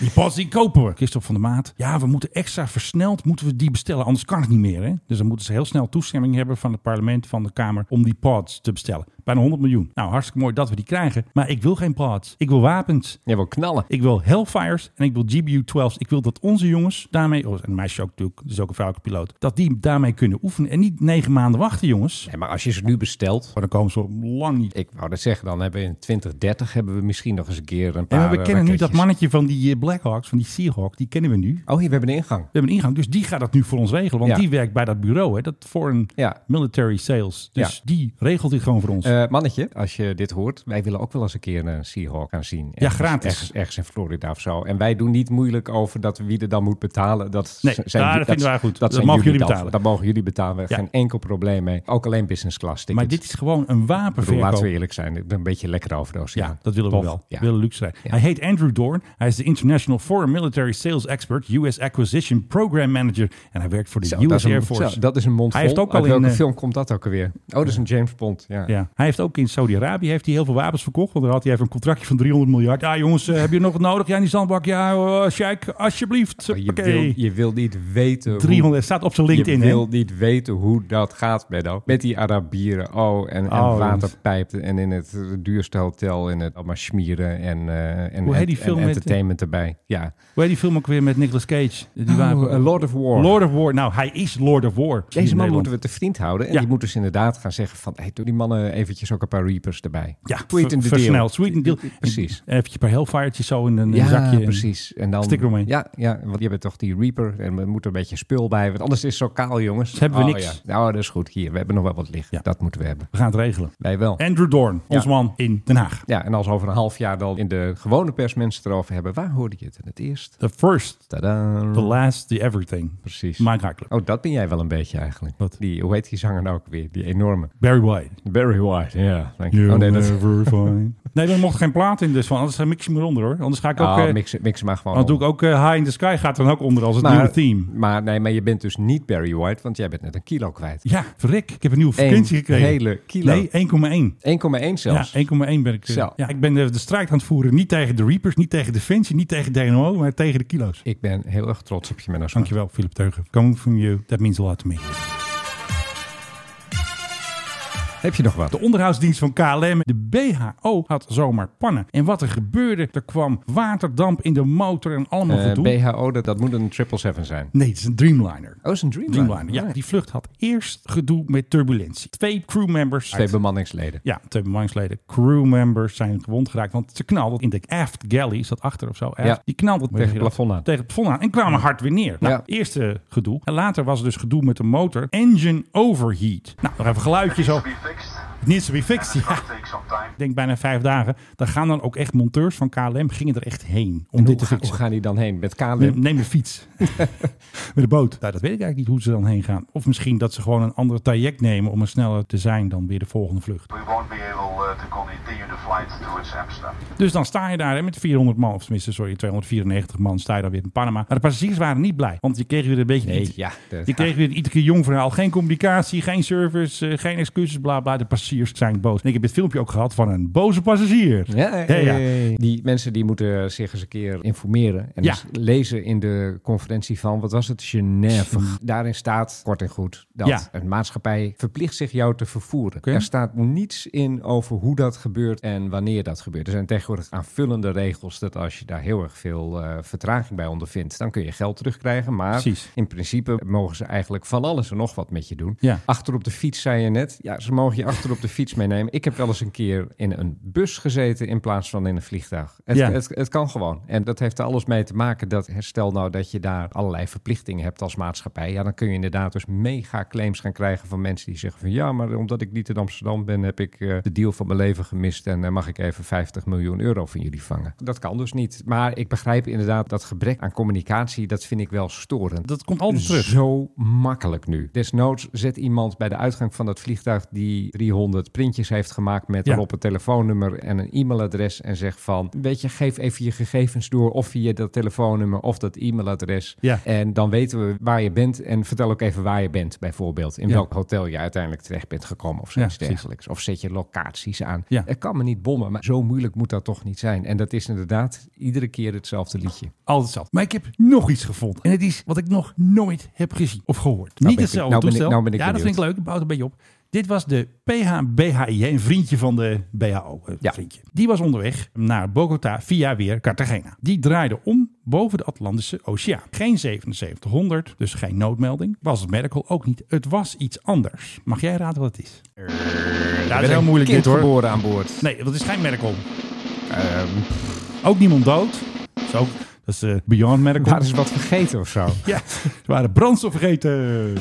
[SPEAKER 10] Die pas die kopen we. Christophe van der Maat. Ja, we moeten extra versneld moeten we die bestellen. Anders kan het niet meer. Hè? Dus dan moeten ze heel snel toestemming hebben van het parlement, van de Kamer, om die pods te bestellen. Bijna 100 miljoen. Nou, hartstikke mooi dat we die krijgen. Maar ik wil geen pods. Ik wil wapens.
[SPEAKER 11] Jij wil knallen.
[SPEAKER 10] Ik wil Hellfires en ik wil GBU-12's. Ik wil dat onze jongens daarmee, oh, en meisje ook natuurlijk, dus ook een vrouwelijke piloot, dat die daarmee kunnen oefenen. En niet negen maanden wachten, jongens. Oh,
[SPEAKER 11] Nee, maar als je ze nu bestelt...
[SPEAKER 10] dan komen ze lang niet.
[SPEAKER 11] Ik wou dat zeggen, dan hebben we in 2030 hebben we misschien nog eens een keer een paar...
[SPEAKER 10] En we
[SPEAKER 11] eh,
[SPEAKER 10] kennen nu dat
[SPEAKER 11] raketjes.
[SPEAKER 10] mannetje van die eh, Blackhawks, van die Seahawk, die kennen we nu.
[SPEAKER 11] Oh, hier, we hebben een ingang. We
[SPEAKER 10] hebben een ingang, dus die gaat dat nu voor ons regelen. Want
[SPEAKER 11] Ja.
[SPEAKER 10] die werkt bij dat bureau, hè, dat Foreign Military Sales. Dus
[SPEAKER 11] Ja.
[SPEAKER 10] die regelt dit gewoon voor ons.
[SPEAKER 11] Eh, mannetje, als je dit hoort, wij willen ook wel eens een keer een Seahawk gaan zien.
[SPEAKER 10] Ja, gratis.
[SPEAKER 11] Ergens, ergens in Florida of zo. En wij doen niet moeilijk over dat wie er dan moet betalen. Dat
[SPEAKER 10] Nee,
[SPEAKER 11] z-
[SPEAKER 10] daar
[SPEAKER 11] ju-
[SPEAKER 10] vinden wij goed. Dat
[SPEAKER 11] zijn
[SPEAKER 10] mogen jullie
[SPEAKER 11] dan.
[SPEAKER 10] betalen.
[SPEAKER 11] Dat mogen jullie betalen.
[SPEAKER 10] Ja.
[SPEAKER 11] Geen enkel probleem mee. Ook alleen business class tickets.
[SPEAKER 10] maar dit is gewoon een
[SPEAKER 11] Ik bedoel, laten we
[SPEAKER 10] wapenverkoop.
[SPEAKER 11] eerlijk zijn, een beetje lekker over de oceaan.
[SPEAKER 10] Ja, dat willen we
[SPEAKER 11] Tof.
[SPEAKER 10] wel.
[SPEAKER 11] Ja.
[SPEAKER 10] We willen luxe zijn. Hij heet Andrew Dorn. Hij is de International Foreign Military Sales Expert, US Acquisition Program Manager. En hij werkt voor de
[SPEAKER 11] Zo, dat
[SPEAKER 10] US
[SPEAKER 11] is een-
[SPEAKER 10] Air Force.
[SPEAKER 11] zo, dat is een mond
[SPEAKER 10] Hij
[SPEAKER 11] vol.
[SPEAKER 10] heeft ook
[SPEAKER 11] Uit
[SPEAKER 10] al in
[SPEAKER 11] welke
[SPEAKER 10] eh,
[SPEAKER 11] film komt dat ook alweer? Oh, dat is een James Bond. Ja.
[SPEAKER 10] Ja. Hij heeft ook in Saudi-Arabië heeft hij heel veel wapens verkocht. Want daar had hij even een contractje van 300 miljard. Ja, jongens, eh, heb je nog wat nodig? Ja, in die zandbak. Ja, eh, Sjaik, alsjeblieft.
[SPEAKER 11] Je,
[SPEAKER 10] Oké.
[SPEAKER 11] wil, je wil niet weten... hoe-
[SPEAKER 10] 300, het staat op zijn LinkedIn,
[SPEAKER 11] Je
[SPEAKER 10] hè?
[SPEAKER 11] wil niet weten hoe dat gaat, Benno. Met die Arabieren. Oh, en,
[SPEAKER 10] Oh,
[SPEAKER 11] en waterpijpen. En in het eh, duurste hotel. En het allemaal smieren. En, eh, en,
[SPEAKER 10] Hoe heet die
[SPEAKER 11] en-
[SPEAKER 10] film
[SPEAKER 11] en
[SPEAKER 10] met-
[SPEAKER 11] entertainment erbij. Ja.
[SPEAKER 10] Hoe heet die film ook weer met Nicolas Cage? Die
[SPEAKER 11] Oh,
[SPEAKER 10] wapen-
[SPEAKER 11] eh, Lord of War.
[SPEAKER 10] Lord of War. Nou, hij is Lord of War.
[SPEAKER 11] Deze man moeten
[SPEAKER 10] we
[SPEAKER 11] we te vriend houden. En
[SPEAKER 10] Ja.
[SPEAKER 11] die moeten dus inderdaad gaan zeggen van... Hey, doe die mannen eventjes ook een paar Reapers erbij.
[SPEAKER 10] ja,
[SPEAKER 11] Sweeten
[SPEAKER 10] ver-
[SPEAKER 11] the deal.
[SPEAKER 10] versneld. Sweet and deal.
[SPEAKER 11] Precies.
[SPEAKER 10] En even een paar hellfiretjes zo in een eh,
[SPEAKER 11] ja,
[SPEAKER 10] zakje. en
[SPEAKER 11] precies. En dan,
[SPEAKER 10] Stik eromheen.
[SPEAKER 11] Ja, ja, want je hebt toch die Reaper en we moeten een beetje spul bij. Want anders is het zo kaal, jongens.
[SPEAKER 10] Dus hebben we
[SPEAKER 11] Oh,
[SPEAKER 10] niks.
[SPEAKER 11] ja. Nou, dat is goed. Hier, we hebben nog wel wat liggen. Dat moeten we hebben.
[SPEAKER 10] We gaan het regelen.
[SPEAKER 11] Wij wel.
[SPEAKER 10] Andrew Dorn, ons
[SPEAKER 11] Ja.
[SPEAKER 10] man in Den Haag.
[SPEAKER 11] Ja, en als over een half jaar dan in de gewone pers mensen het erover hebben, waar hoorde je het in het eerst?
[SPEAKER 10] The first,
[SPEAKER 11] Tadaa.
[SPEAKER 10] the last, the everything.
[SPEAKER 11] Precies.
[SPEAKER 10] Mike Haakler.
[SPEAKER 11] Oh, dat ben jij wel een beetje eigenlijk. Die, hoe heet die zanger nou ook weer? Die enorme.
[SPEAKER 10] Barry White.
[SPEAKER 11] Barry White, ja. Dank je.
[SPEAKER 10] You'll
[SPEAKER 11] Oh, nee, dat-
[SPEAKER 10] never find. Nee, er mocht geen plaat in dus van. Anders mix je hem eronder hoor. Anders ga ik ook...
[SPEAKER 11] Ah,
[SPEAKER 10] eh,
[SPEAKER 11] mix, Nou, mix hem maar gewoon
[SPEAKER 10] Want doe ik ook eh, High in the Sky gaat er dan ook onder als het nieuwe theme.
[SPEAKER 11] Maar, nee, maar je bent dus niet Barry White, want jij bent net een kilo kwijt.
[SPEAKER 10] Ja, verrek. Ik heb een nieuwe
[SPEAKER 11] Eén
[SPEAKER 10] vakantie gekregen.
[SPEAKER 11] hele kilo.
[SPEAKER 10] Nee, 1,1.
[SPEAKER 11] 1,1 zelfs.
[SPEAKER 10] Ja, 1,1 ben ik. eh,
[SPEAKER 11] Zo.
[SPEAKER 10] Ja, ik ben de, de strijd aan het voeren. Niet tegen de Reapers, niet tegen Defensie, niet tegen DNO, maar tegen de kilo's.
[SPEAKER 11] Ik ben heel erg trots op je, Menno. Zwart.
[SPEAKER 10] Dankjewel, Philip Teugen. Coming from you, that means a lot to me.
[SPEAKER 11] Heb je nog wat?
[SPEAKER 10] De onderhoudsdienst van KLM, de BHO, had zomaar pannen. En wat er gebeurde, er kwam waterdamp in de motor en allemaal
[SPEAKER 11] Eh,
[SPEAKER 10] gedoe.
[SPEAKER 11] BHO, dat, dat moet een 777 zijn.
[SPEAKER 10] Nee, het is een Dreamliner.
[SPEAKER 11] Oh, is een Dreamliner.
[SPEAKER 10] Dreamliner, ja. Die vlucht had eerst gedoe met turbulentie. Twee crewmembers.
[SPEAKER 11] Twee bemanningsleden.
[SPEAKER 10] Ja, twee bemanningsleden. Crewmembers zijn gewond geraakt. Want ze knalden in de aft galley. Is dat achter of zo? Aft.
[SPEAKER 11] Ja.
[SPEAKER 10] Die knalden
[SPEAKER 11] Tegen het plafond aan.
[SPEAKER 10] Tegen het plafond aan. En kwamen hard weer neer. Nou,
[SPEAKER 11] Ja.
[SPEAKER 10] eerste gedoe. En later was er dus gedoe met de motor. Engine overheat. Nou, nog even geluidjes op. It needs to be fixed, ja. Ik denk bijna vijf dagen. Daar gaan dan ook echt monteurs van KLM gingen er echt heen om
[SPEAKER 11] En
[SPEAKER 10] dit
[SPEAKER 11] hoe,
[SPEAKER 10] te
[SPEAKER 11] ga, hoe
[SPEAKER 10] fixen.
[SPEAKER 11] gaan die dan heen? Met KLM?
[SPEAKER 10] Neem neem de fiets. Met de boot. Nou, dat weet ik eigenlijk niet hoe ze dan heen gaan. Of misschien dat ze gewoon een ander traject nemen om er sneller te zijn dan weer de volgende vlucht.
[SPEAKER 14] We won't be able uh, to continue the flight towards Amsterdam.
[SPEAKER 10] Dus dan sta je daar hè, met 400 man, of tenminste, sorry, 294 man, sta je daar weer in Panama. Maar de passagiers waren niet blij, want die kregen weer een beetje...
[SPEAKER 11] Nee,
[SPEAKER 10] iets-
[SPEAKER 11] ja, dat-
[SPEAKER 10] die kregen weer iedere keer jong verhaal. Geen communicatie, geen service, eh, geen excuses, bla bla. De passagiers zijn boos. En ik heb dit filmpje ook gehad van een boze passagier.
[SPEAKER 11] Ja,
[SPEAKER 10] ja, ja.
[SPEAKER 11] Die mensen die moeten zich eens een keer informeren. En
[SPEAKER 10] Ja.
[SPEAKER 11] dus lezen in de conferentie van, wat was het, Genève. Daarin staat, kort en goed, dat
[SPEAKER 10] Ja.
[SPEAKER 11] een maatschappij verplicht zich jou te vervoeren.
[SPEAKER 10] Oké.
[SPEAKER 11] Er staat niets in over hoe dat gebeurt en wanneer dat gebeurt. Er zijn tegenwoordig aanvullende regels dat als je daar heel erg veel eh, vertraging bij ondervindt, dan kun je geld terugkrijgen. Maar
[SPEAKER 10] Precies.
[SPEAKER 11] in principe mogen ze eigenlijk van alles en nog wat met je doen.
[SPEAKER 10] Ja.
[SPEAKER 11] Achter op de fiets, zei je net. Ja, ze mogen je achter op de fiets meenemen. Ik heb wel eens een keer in een bus gezeten in plaats van in een vliegtuig. Het,
[SPEAKER 10] Ja.
[SPEAKER 11] het, het kan gewoon. En dat heeft er alles mee te maken dat, herstel nou dat je daar allerlei verplichtingen hebt als maatschappij. Ja, dan kun je inderdaad dus mega claims gaan krijgen van mensen die zeggen van ja, maar omdat ik niet in Amsterdam ben, heb ik eh, de deal van mijn leven gemist en eh, mag ik even 50 miljoen euro van jullie vangen. Dat kan dus niet. Maar ik begrijp inderdaad dat gebrek aan communicatie, dat vind ik wel storend.
[SPEAKER 10] Dat komt altijd terug.
[SPEAKER 11] Zo makkelijk nu. Desnoods zet iemand bij de uitgang van dat vliegtuig die 300 printjes heeft gemaakt met
[SPEAKER 10] Ja.
[SPEAKER 11] erop een telefoonnummer en een e-mailadres en zegt van, weet je, geef even je gegevens door of via dat telefoonnummer of dat e-mailadres.
[SPEAKER 10] Ja.
[SPEAKER 11] En dan weten we waar je bent en vertel ook even waar je bent bijvoorbeeld. In
[SPEAKER 10] Ja.
[SPEAKER 11] welk hotel je uiteindelijk terecht bent gekomen of zoiets
[SPEAKER 10] Ja, precies.
[SPEAKER 11] dergelijks. Of zet je locaties aan.
[SPEAKER 10] Ja.
[SPEAKER 11] Het kan me niet bommen, maar zo moeilijk moet dat toch niet zijn. En dat is inderdaad iedere keer hetzelfde liedje.
[SPEAKER 10] Altijd hetzelfde. Maar ik heb nog iets gevonden. En het is wat ik nog nooit heb gezien of gehoord.
[SPEAKER 11] ben
[SPEAKER 10] Niet
[SPEAKER 11] ik-
[SPEAKER 10] hetzelfde
[SPEAKER 11] nou ben ik-
[SPEAKER 10] toestel.
[SPEAKER 11] nou ben ik
[SPEAKER 10] ja, dat vind ik
[SPEAKER 11] benieuwd.
[SPEAKER 10] leuk. Dat bouwt een beetje op. Dit was de PHBHI, een vriendje van de BHO. Een eh, vriendje. Die was onderweg naar Bogota via weer Cartagena. Die draaide om boven de Atlantische Oceaan. Geen 7700, dus geen noodmelding. Was het medical ook niet. Het was iets anders. Mag jij raden wat het is?
[SPEAKER 11] er
[SPEAKER 10] dat
[SPEAKER 11] werd
[SPEAKER 10] is heel
[SPEAKER 11] een
[SPEAKER 10] moeilijk
[SPEAKER 11] kind
[SPEAKER 10] dit hoor.
[SPEAKER 11] geboren aan boord.
[SPEAKER 10] Nee, dat is geen medical. ook niemand dood. Zo, dat is eh, Beyond Medical.
[SPEAKER 11] Daar is wat vergeten of zo.
[SPEAKER 10] Ja, ze waren brandstof vergeten.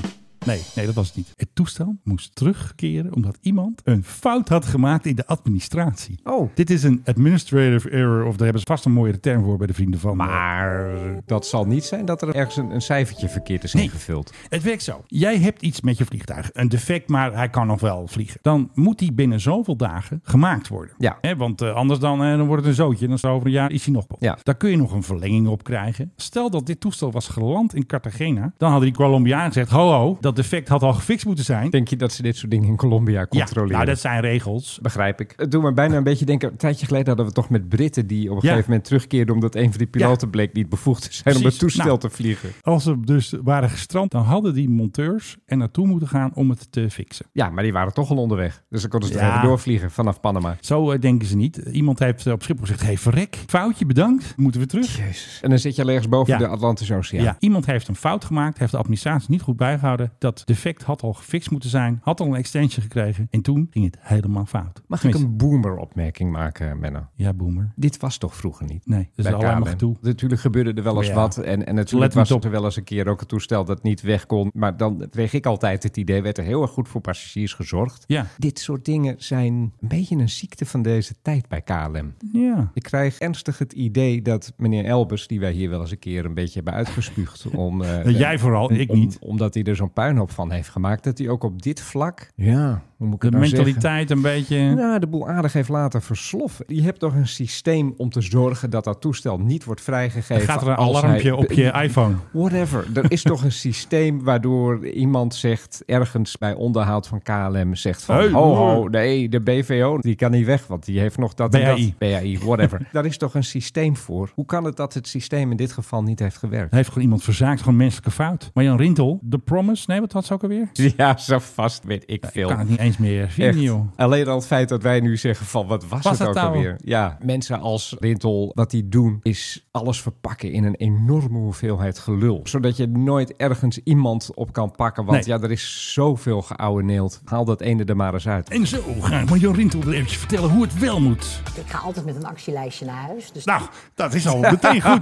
[SPEAKER 10] Nee, nee, dat was het niet. Het toestel moest terugkeren omdat iemand een fout had gemaakt in de administratie.
[SPEAKER 11] Oh.
[SPEAKER 10] Dit is een administrative error, of daar hebben ze vast een mooiere term voor bij de vrienden van. eh,
[SPEAKER 11] Maar dat zal niet zijn dat er ergens een, een cijfertje verkeerd is ingevuld.
[SPEAKER 10] Het werkt zo. Jij hebt iets met je vliegtuig. Een defect, maar hij kan nog wel vliegen. Dan moet die binnen zoveel dagen gemaakt worden.
[SPEAKER 11] Ja.
[SPEAKER 10] Hè, want eh, anders dan, eh, dan wordt het een zootje. En dan is het over een jaar is hij nog wat.
[SPEAKER 11] Ja.
[SPEAKER 10] Daar kun je nog een verlenging op krijgen. Stel dat dit toestel was geland in Cartagena. Dan hadden die Colombiaan gezegd... Ho, ho, dat defect had al gefixt moeten zijn.
[SPEAKER 11] Denk je dat ze dit soort dingen in Colombia controleren?
[SPEAKER 10] Ja, nou, dat zijn regels.
[SPEAKER 11] Begrijp ik. Het doet me bijna een beetje denken. Een tijdje geleden hadden we toch met Britten die op een
[SPEAKER 10] Ja.
[SPEAKER 11] gegeven moment terugkeerden. omdat een van die piloten bleek niet bevoegd te zijn om
[SPEAKER 10] Precies.
[SPEAKER 11] het toestel
[SPEAKER 10] Nou.
[SPEAKER 11] te vliegen.
[SPEAKER 10] Als ze dus waren gestrand, dan hadden die monteurs er naartoe moeten gaan om het te fixen.
[SPEAKER 11] Ja, maar die waren toch al onderweg. Dus dan konden ze
[SPEAKER 10] Ja.
[SPEAKER 11] toch even doorvliegen vanaf Panama.
[SPEAKER 10] Zo eh, denken ze niet. Iemand heeft eh, op Schiphol gezegd, hey verrek, foutje, bedankt, moeten we terug.
[SPEAKER 11] En dan zit je al ergens boven
[SPEAKER 10] Ja.
[SPEAKER 11] de Atlantische Oceaan.
[SPEAKER 10] Ja. iemand heeft een fout gemaakt, heeft de administratie niet goed bijgehouden. Dat defect had al gefixt moeten zijn, had al een extension gekregen. En toen ging het helemaal fout.
[SPEAKER 11] Mag ik
[SPEAKER 10] Tenminste,
[SPEAKER 11] een boomer-opmerking maken, Menno?
[SPEAKER 10] Ja, boomer.
[SPEAKER 11] Dit was toch vroeger niet?
[SPEAKER 10] Nee, dat is
[SPEAKER 11] Bij
[SPEAKER 10] allemaal
[SPEAKER 11] KLM.
[SPEAKER 10] gedoe.
[SPEAKER 11] Natuurlijk gebeurde er wel eens
[SPEAKER 10] Ja.
[SPEAKER 11] wat. En, en
[SPEAKER 10] Let
[SPEAKER 11] natuurlijk
[SPEAKER 10] maar
[SPEAKER 11] was
[SPEAKER 10] op.
[SPEAKER 11] er wel eens een keer ook een toestel dat niet weg kon. Maar dan kreeg ik altijd het idee, werd er heel erg goed voor passagiers gezorgd.
[SPEAKER 10] Ja.
[SPEAKER 11] Dit soort dingen zijn een beetje een ziekte van deze tijd bij KLM.
[SPEAKER 10] Ja.
[SPEAKER 11] Ik krijg ernstig het idee dat meneer Elbers, die wij hier wel eens een keer een beetje hebben uitgespuugd. om, eh,
[SPEAKER 10] Jij vooral, ik
[SPEAKER 11] om-
[SPEAKER 10] niet.
[SPEAKER 11] Omdat hij er zo'n puinhoop van heeft gemaakt. Dat hij ook op dit vlak, ja, hoe moet ik
[SPEAKER 10] De
[SPEAKER 11] het nou zeggen?
[SPEAKER 10] mentaliteit een beetje...
[SPEAKER 11] Nou, de boel aardig heeft laten versloffen. Je hebt toch een systeem om te zorgen dat dat toestel niet wordt
[SPEAKER 10] Er
[SPEAKER 11] vrijgegeven.
[SPEAKER 10] gaat er een
[SPEAKER 11] als
[SPEAKER 10] alarmpje
[SPEAKER 11] hij-
[SPEAKER 10] op je iPhone.
[SPEAKER 11] Whatever. Er is toch een systeem waardoor iemand zegt, ergens bij onderhoud van KLM zegt van...
[SPEAKER 10] Hey,
[SPEAKER 11] ho,
[SPEAKER 10] hoor.
[SPEAKER 11] ho, nee, de BVO, die kan niet weg, want die heeft nog dat en
[SPEAKER 10] BAI.
[SPEAKER 11] dat. BAI, whatever. Daar is toch een systeem voor. Hoe kan het dat het systeem in dit geval niet heeft gewerkt?
[SPEAKER 10] Heeft gewoon iemand verzaakt, gewoon menselijke fout. Maar Jan Rintel, The Promise, nee, wat had ze ook alweer?
[SPEAKER 11] Ja, zo vast weet ik veel.
[SPEAKER 10] Kan het niet eens meer zien,
[SPEAKER 11] Echt.
[SPEAKER 10] joh.
[SPEAKER 11] Alleen al het feit dat wij nu zeggen van wat was,
[SPEAKER 10] Was
[SPEAKER 11] het
[SPEAKER 10] het
[SPEAKER 11] ook
[SPEAKER 10] nou?
[SPEAKER 11] alweer. Ja, mensen als Rintel, wat die doen is alles verpakken in een enorme hoeveelheid gelul. Zodat je nooit ergens iemand op kan pakken. Want
[SPEAKER 10] Nee.
[SPEAKER 11] ja, er is zoveel geouweneeld. Haal dat ene er maar eens uit.
[SPEAKER 10] En zo ga ik maar Jan Rintel er eventjes vertellen hoe het wel moet.
[SPEAKER 15] Ik ga altijd met een actielijstje naar huis. Dus
[SPEAKER 10] Nou, dat is al meteen goed.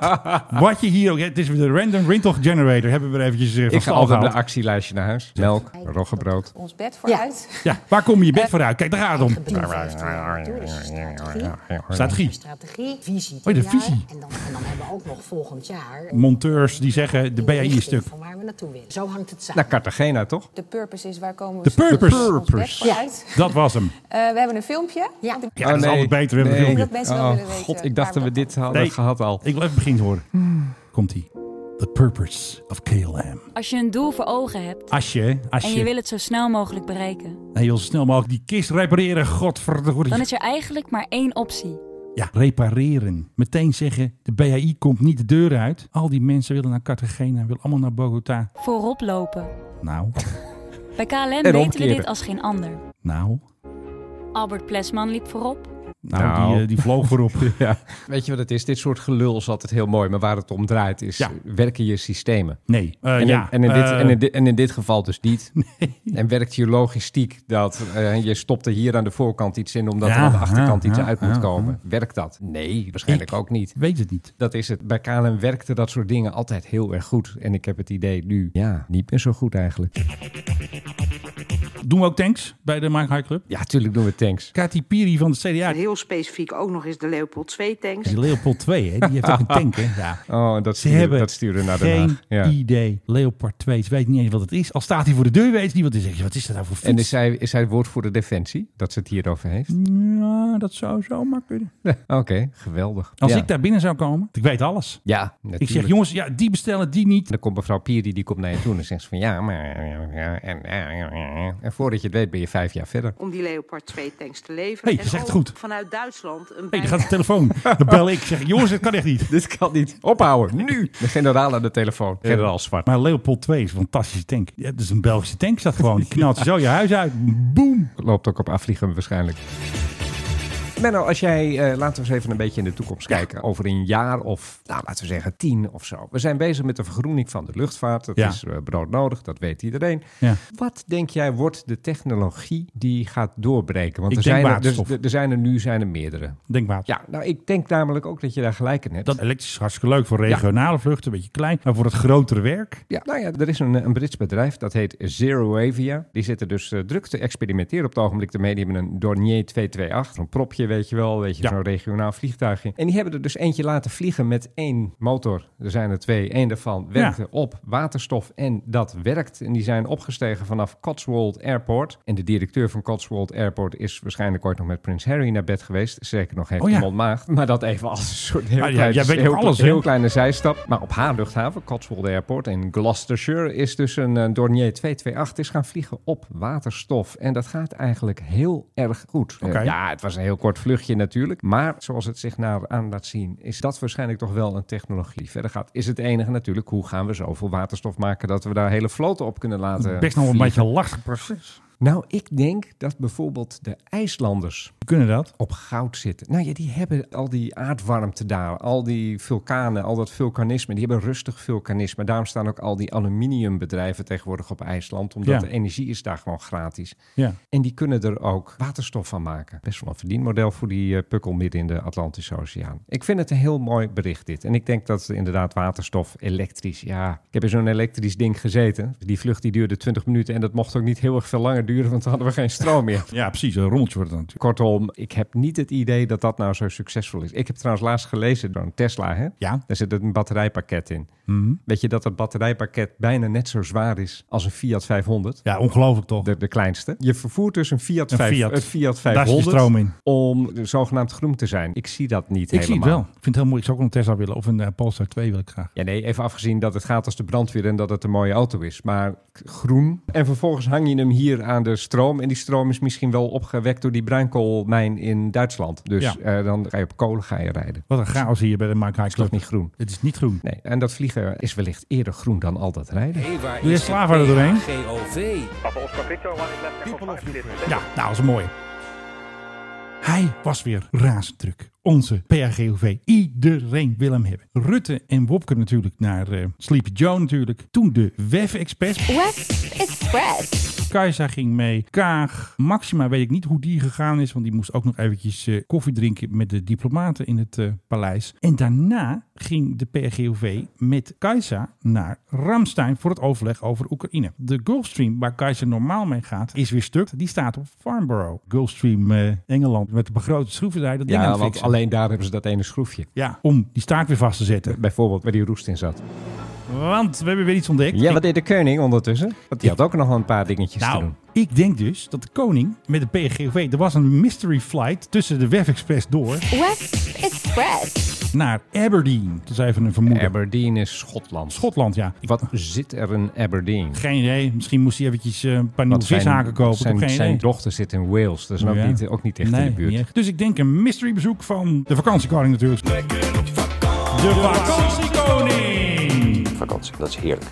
[SPEAKER 10] Wat je hier ook... Het is weer de Random Rintel Generator. Hebben we er eventjes eh, van
[SPEAKER 11] Ik ga
[SPEAKER 10] stal
[SPEAKER 11] altijd met
[SPEAKER 10] gehaald.
[SPEAKER 11] een actielijstje naar huis. Melk, roggebrood.
[SPEAKER 16] ons bed vooruit.
[SPEAKER 10] Ja, waar kom je je bed vooruit? Kijk, daar gaat het om. Strategie.
[SPEAKER 15] strategie, visie.
[SPEAKER 10] Oh, de
[SPEAKER 15] dit jaar.
[SPEAKER 10] visie.
[SPEAKER 15] En dan, en dan hebben we ook nog volgend jaar een
[SPEAKER 10] Monteurs die zeggen, de BAI is stuk.
[SPEAKER 15] van waar we naartoe willen. Zo hangt het samen.
[SPEAKER 11] Naar Nou, Cartagena, toch?
[SPEAKER 16] De purpose is waar komen we
[SPEAKER 10] De
[SPEAKER 16] zo-
[SPEAKER 10] purpose.
[SPEAKER 16] ons bed vooruit.
[SPEAKER 10] Dat was hem.
[SPEAKER 16] Eh, we hebben een filmpje. Ja,
[SPEAKER 10] Ja, dat is altijd beter. We hebben een
[SPEAKER 11] nee.
[SPEAKER 10] filmpje.
[SPEAKER 16] Dat mensen wel
[SPEAKER 11] Oh,
[SPEAKER 16] willen weten
[SPEAKER 11] god, ik dacht dat we dit hadden
[SPEAKER 10] Nee.
[SPEAKER 11] gehad al.
[SPEAKER 10] Ik wil even beginnen horen. Komt-ie. The purpose of KLM.
[SPEAKER 17] Als je een doel voor ogen hebt
[SPEAKER 10] Als je, als
[SPEAKER 17] en
[SPEAKER 10] je,
[SPEAKER 17] je wil het zo snel mogelijk bereiken,
[SPEAKER 10] en je wil zo eh, snel mogelijk die kist repareren, godverdorie.
[SPEAKER 17] dan is er eigenlijk maar één optie.
[SPEAKER 10] Ja, repareren. Meteen zeggen, de BAI komt niet de deur uit. Al die mensen willen naar Cartagena, willen allemaal naar Bogota.
[SPEAKER 17] Voorop lopen.
[SPEAKER 10] Nou,
[SPEAKER 17] Bij KLM weten we
[SPEAKER 10] omkeren.
[SPEAKER 17] dit als geen ander.
[SPEAKER 10] nou,
[SPEAKER 17] Albert Plesman liep voorop.
[SPEAKER 10] nou, Die, eh, die vloog voorop.
[SPEAKER 11] ja. Weet je wat het is? Dit soort gelul is altijd heel mooi. Maar waar het om draait is, werken je systemen?
[SPEAKER 10] Nee. Eh,
[SPEAKER 11] en, in,
[SPEAKER 10] ja,
[SPEAKER 11] en, in dit,
[SPEAKER 10] eh,
[SPEAKER 11] en, in dit, en in dit geval dus niet. En werkt je logistiek dat eh, je stopt er hier aan de voorkant iets in... omdat
[SPEAKER 10] Ja,
[SPEAKER 11] er aan de achterkant
[SPEAKER 10] ja,
[SPEAKER 11] iets
[SPEAKER 10] ja,
[SPEAKER 11] uit moet
[SPEAKER 10] ja,
[SPEAKER 11] komen. Werkt dat? Nee, waarschijnlijk ook niet.
[SPEAKER 10] Weet het niet.
[SPEAKER 11] Dat is het. Bij KLM werkte dat soort dingen altijd heel erg goed. En ik heb het idee nu, ja, niet meer zo goed eigenlijk.
[SPEAKER 10] Doen we ook tanks bij de Mike High Club?
[SPEAKER 11] Ja, tuurlijk doen we tanks.
[SPEAKER 10] Katy Piri van de CDA.
[SPEAKER 18] En heel specifiek ook nog eens de Leopold 2 tanks.
[SPEAKER 10] Die Leopold 2, hè? die heeft ook een tank. Hè? Ja.
[SPEAKER 11] Oh, dat
[SPEAKER 10] Ze
[SPEAKER 11] stuurde,
[SPEAKER 10] hebben
[SPEAKER 11] dat stuurde naar Den
[SPEAKER 10] geen
[SPEAKER 11] Haag. Ja.
[SPEAKER 10] idee. Leopard 2, ze weten niet eens wat het is. Al staat hij voor de deur, weet ze niet wat het is. Wat is dat nou voor fiets?
[SPEAKER 11] En is zij, is zij woordvoerder Defensie, dat ze het hierover heeft?
[SPEAKER 10] Ja, dat zou zomaar kunnen.
[SPEAKER 11] Oké, geweldig.
[SPEAKER 10] Als
[SPEAKER 11] Ja.
[SPEAKER 10] ik daar binnen zou komen, ik weet alles.
[SPEAKER 11] Ja, natuurlijk.
[SPEAKER 10] Ik zeg, jongens, ja, die bestellen, die niet.
[SPEAKER 11] Dan komt mevrouw Pieri, die komt naar je toe en dan zegt ze van ja, maar... ja, ja, en, ja, ja, ja. en voordat je het weet ben je vijf jaar verder.
[SPEAKER 18] Om die Leopard 2 tanks te leveren.
[SPEAKER 11] Hey, je
[SPEAKER 18] en
[SPEAKER 11] zegt
[SPEAKER 18] ook
[SPEAKER 11] het goed.
[SPEAKER 18] vanuit Duitsland een
[SPEAKER 10] Hé, hey,
[SPEAKER 18] bijna-
[SPEAKER 10] daar gaat de telefoon. Dan bel ik. Zeg, jongens, dit kan echt niet.
[SPEAKER 11] Dit kan niet. Ophouden, nu. De generaal aan de telefoon. Generaal Zwart.
[SPEAKER 10] Maar Leopold 2 is een fantastische tank. Ja, dat is een Belgische tank, staat gewoon. Die knalt zo je huis uit. Boom.
[SPEAKER 11] Loopt ook op afvliegen waarschijnlijk. Menno, als jij, eh, laten we eens even een beetje in de toekomst kijken. Over een jaar of, nou, laten we zeggen tien of zo. We zijn bezig met de vergroening van de luchtvaart. Dat
[SPEAKER 10] Ja.
[SPEAKER 11] is eh, broodnodig, dat weet iedereen.
[SPEAKER 10] Ja.
[SPEAKER 11] Wat denk jij wordt de technologie die gaat doorbreken? Want
[SPEAKER 10] Ik
[SPEAKER 11] er,
[SPEAKER 10] denk
[SPEAKER 11] zijn er,
[SPEAKER 10] waterstof.
[SPEAKER 11] er, er zijn er nu zijn er meerdere.
[SPEAKER 10] Denk water.
[SPEAKER 11] Ja, nou, ik denk namelijk ook dat je daar gelijk in hebt.
[SPEAKER 10] Dat elektrisch is hartstikke leuk voor regionale vluchten, een beetje klein. Maar voor het grotere werk.
[SPEAKER 11] Ja, nou ja, er is een, een Brits bedrijf, dat heet Zeroavia. Die zitten dus eh, druk te experimenteren op het ogenblik ermee. Die hebben een Dornier 228, een propje, weet je wel, weet je, zo'n regionaal vliegtuigje. En die hebben er dus eentje laten vliegen met één motor. Er zijn er twee. Eén daarvan werkte op waterstof en dat werkt. En die zijn opgestegen vanaf Cotswold Airport. En de directeur van Cotswold Airport is waarschijnlijk ooit nog met Prins Harry naar bed geweest. Zeker nog heeft
[SPEAKER 10] Oh
[SPEAKER 11] hij
[SPEAKER 10] ja.
[SPEAKER 11] maag. Maar dat even als een soort heel,
[SPEAKER 10] Ah, ja,
[SPEAKER 11] klein,
[SPEAKER 10] jij weet
[SPEAKER 11] heel,
[SPEAKER 10] nog alles, hè?
[SPEAKER 11] heel kleine zijstap. Maar op haar luchthaven, Cotswold Airport in Gloucestershire, is dus een eh, Dornier 228 is gaan vliegen op waterstof. En dat gaat eigenlijk heel erg goed.
[SPEAKER 10] Oké.
[SPEAKER 11] Eh, Ja, het was een heel kort vluchtje natuurlijk. Maar zoals het zich naar aan laat zien, is dat waarschijnlijk toch wel een technologie die verder gaat. Is het enige natuurlijk, hoe gaan we zoveel waterstof maken dat we daar hele vloten op kunnen laten
[SPEAKER 10] Best nog wel een
[SPEAKER 11] vliegen?
[SPEAKER 10] beetje lastig proces.
[SPEAKER 11] Nou, ik denk dat bijvoorbeeld de IJslanders
[SPEAKER 10] Kunnen dat?
[SPEAKER 11] op goud zitten. Nou ja, die hebben al die aardwarmte daar, al die vulkanen, al dat vulkanisme. Die hebben rustig vulkanisme. Daarom staan ook al die aluminiumbedrijven tegenwoordig op IJsland, omdat
[SPEAKER 10] Ja.
[SPEAKER 11] de energie is daar gewoon gratis.
[SPEAKER 10] Ja.
[SPEAKER 11] En die kunnen er ook waterstof van maken. Best wel een verdienmodel voor die eh, pukkel midden in de Atlantische Oceaan. Ik vind het een heel mooi bericht dit. En ik denk dat ze inderdaad waterstof, elektrisch, ja. Ik heb in zo'n elektrisch ding gezeten. Die vlucht die duurde 20 minuten en dat mocht ook niet heel erg veel langer duren, want dan hadden we geen stroom meer.
[SPEAKER 10] Ja, precies. Een rommeltje wordt het natuurlijk.
[SPEAKER 11] Kortom, ik heb niet het idee dat dat nou zo succesvol is. Ik heb trouwens laatst gelezen door een Tesla, hè?
[SPEAKER 10] Ja.
[SPEAKER 11] Daar zit een batterijpakket in.
[SPEAKER 10] Mhm.
[SPEAKER 11] Weet je dat dat batterijpakket bijna net zo zwaar is als een Fiat 500?
[SPEAKER 10] Ja, ongelooflijk toch?
[SPEAKER 11] De, de kleinste. Je vervoert dus een Fiat,
[SPEAKER 10] Een
[SPEAKER 11] 5,
[SPEAKER 10] Fiat.
[SPEAKER 11] een Fiat
[SPEAKER 10] Daar zit
[SPEAKER 11] 500
[SPEAKER 10] stroom in.
[SPEAKER 11] om zogenaamd groen te zijn. Ik zie dat niet
[SPEAKER 10] Ik
[SPEAKER 11] helemaal.
[SPEAKER 10] zie het wel. Ik vind het heel mooi. Ik zou ook een Tesla willen. Of een eh, Polestar 2 wil ik graag.
[SPEAKER 11] Ja, nee, even afgezien dat het gaat als de brandweer en dat het een mooie auto is. Maar k- groen. En vervolgens hang je hem hier aan de stroom. En die stroom is misschien wel opgewekt door die bruinkoolmijn in Duitsland. Dus
[SPEAKER 10] Ja.
[SPEAKER 11] eh, dan ga je op kolen ga je rijden.
[SPEAKER 10] Wat een chaos hier bij de Mike High
[SPEAKER 11] is toch
[SPEAKER 10] Club.
[SPEAKER 11] niet groen?
[SPEAKER 10] Het is niet groen.
[SPEAKER 11] Nee, en dat vliegen is wellicht eerder groen dan al dat rijden.
[SPEAKER 10] Doe je slaven er doorheen?
[SPEAKER 2] GOV.
[SPEAKER 10] Ja, nou, dat is mooi. Hij was weer razend druk. Onze PHGOV. Iedereen wil hem hebben. Rutte en Wopke natuurlijk naar eh, Sleepy Joe natuurlijk. Toen de WEF Express.
[SPEAKER 8] West Express.
[SPEAKER 10] Kajsa ging mee. Kaag. Maxima weet ik niet hoe die gegaan is. Want die moest ook nog eventjes eh, koffie drinken met de diplomaten in het eh, paleis. En daarna ging de PRGOV met Kajsa naar Ramstein voor het overleg over Oekraïne. De Gulfstream waar Kajsa normaal mee gaat is weer stuk. Die staat op Farnborough. Gulfstream eh, Engeland met de begrote schroevendraaier. Dat ding aan
[SPEAKER 11] Ja,
[SPEAKER 10] het
[SPEAKER 11] want
[SPEAKER 10] fixen.
[SPEAKER 11] alleen daar hebben ze dat ene schroefje.
[SPEAKER 10] Ja, om die staak weer vast te zetten.
[SPEAKER 11] Bijvoorbeeld waar die roest in zat.
[SPEAKER 10] Want we hebben weer iets ontdekt.
[SPEAKER 11] Ja, wat deed de koning ondertussen? Want die had ook nog wel een paar dingetjes te
[SPEAKER 10] Nou,
[SPEAKER 11] doen.
[SPEAKER 10] ik denk dus dat de koning met de PGV... Er was een mystery flight tussen de WEF Express door
[SPEAKER 8] West Express.
[SPEAKER 10] naar Aberdeen. Dat is even een vermoeden.
[SPEAKER 11] Aberdeen is Schotland.
[SPEAKER 10] Schotland, ja.
[SPEAKER 11] Wat zit er in Aberdeen?
[SPEAKER 10] Geen idee. Misschien moest hij eventjes eh, een paar nieuwe
[SPEAKER 11] Want zijn-
[SPEAKER 10] vishaken kopen. Ik
[SPEAKER 11] Zijn,
[SPEAKER 10] heb geen
[SPEAKER 11] zijn
[SPEAKER 10] idee.
[SPEAKER 11] dochter zit in Wales. Dat is ook,
[SPEAKER 10] Ja.
[SPEAKER 11] niet, ook niet echt
[SPEAKER 10] Nee,
[SPEAKER 11] in de buurt.
[SPEAKER 10] niet echt. Dus ik denk een mystery bezoek van de vakantiekoning natuurlijk. De vakantiekoning!
[SPEAKER 19] Vakantie, dat is heerlijk.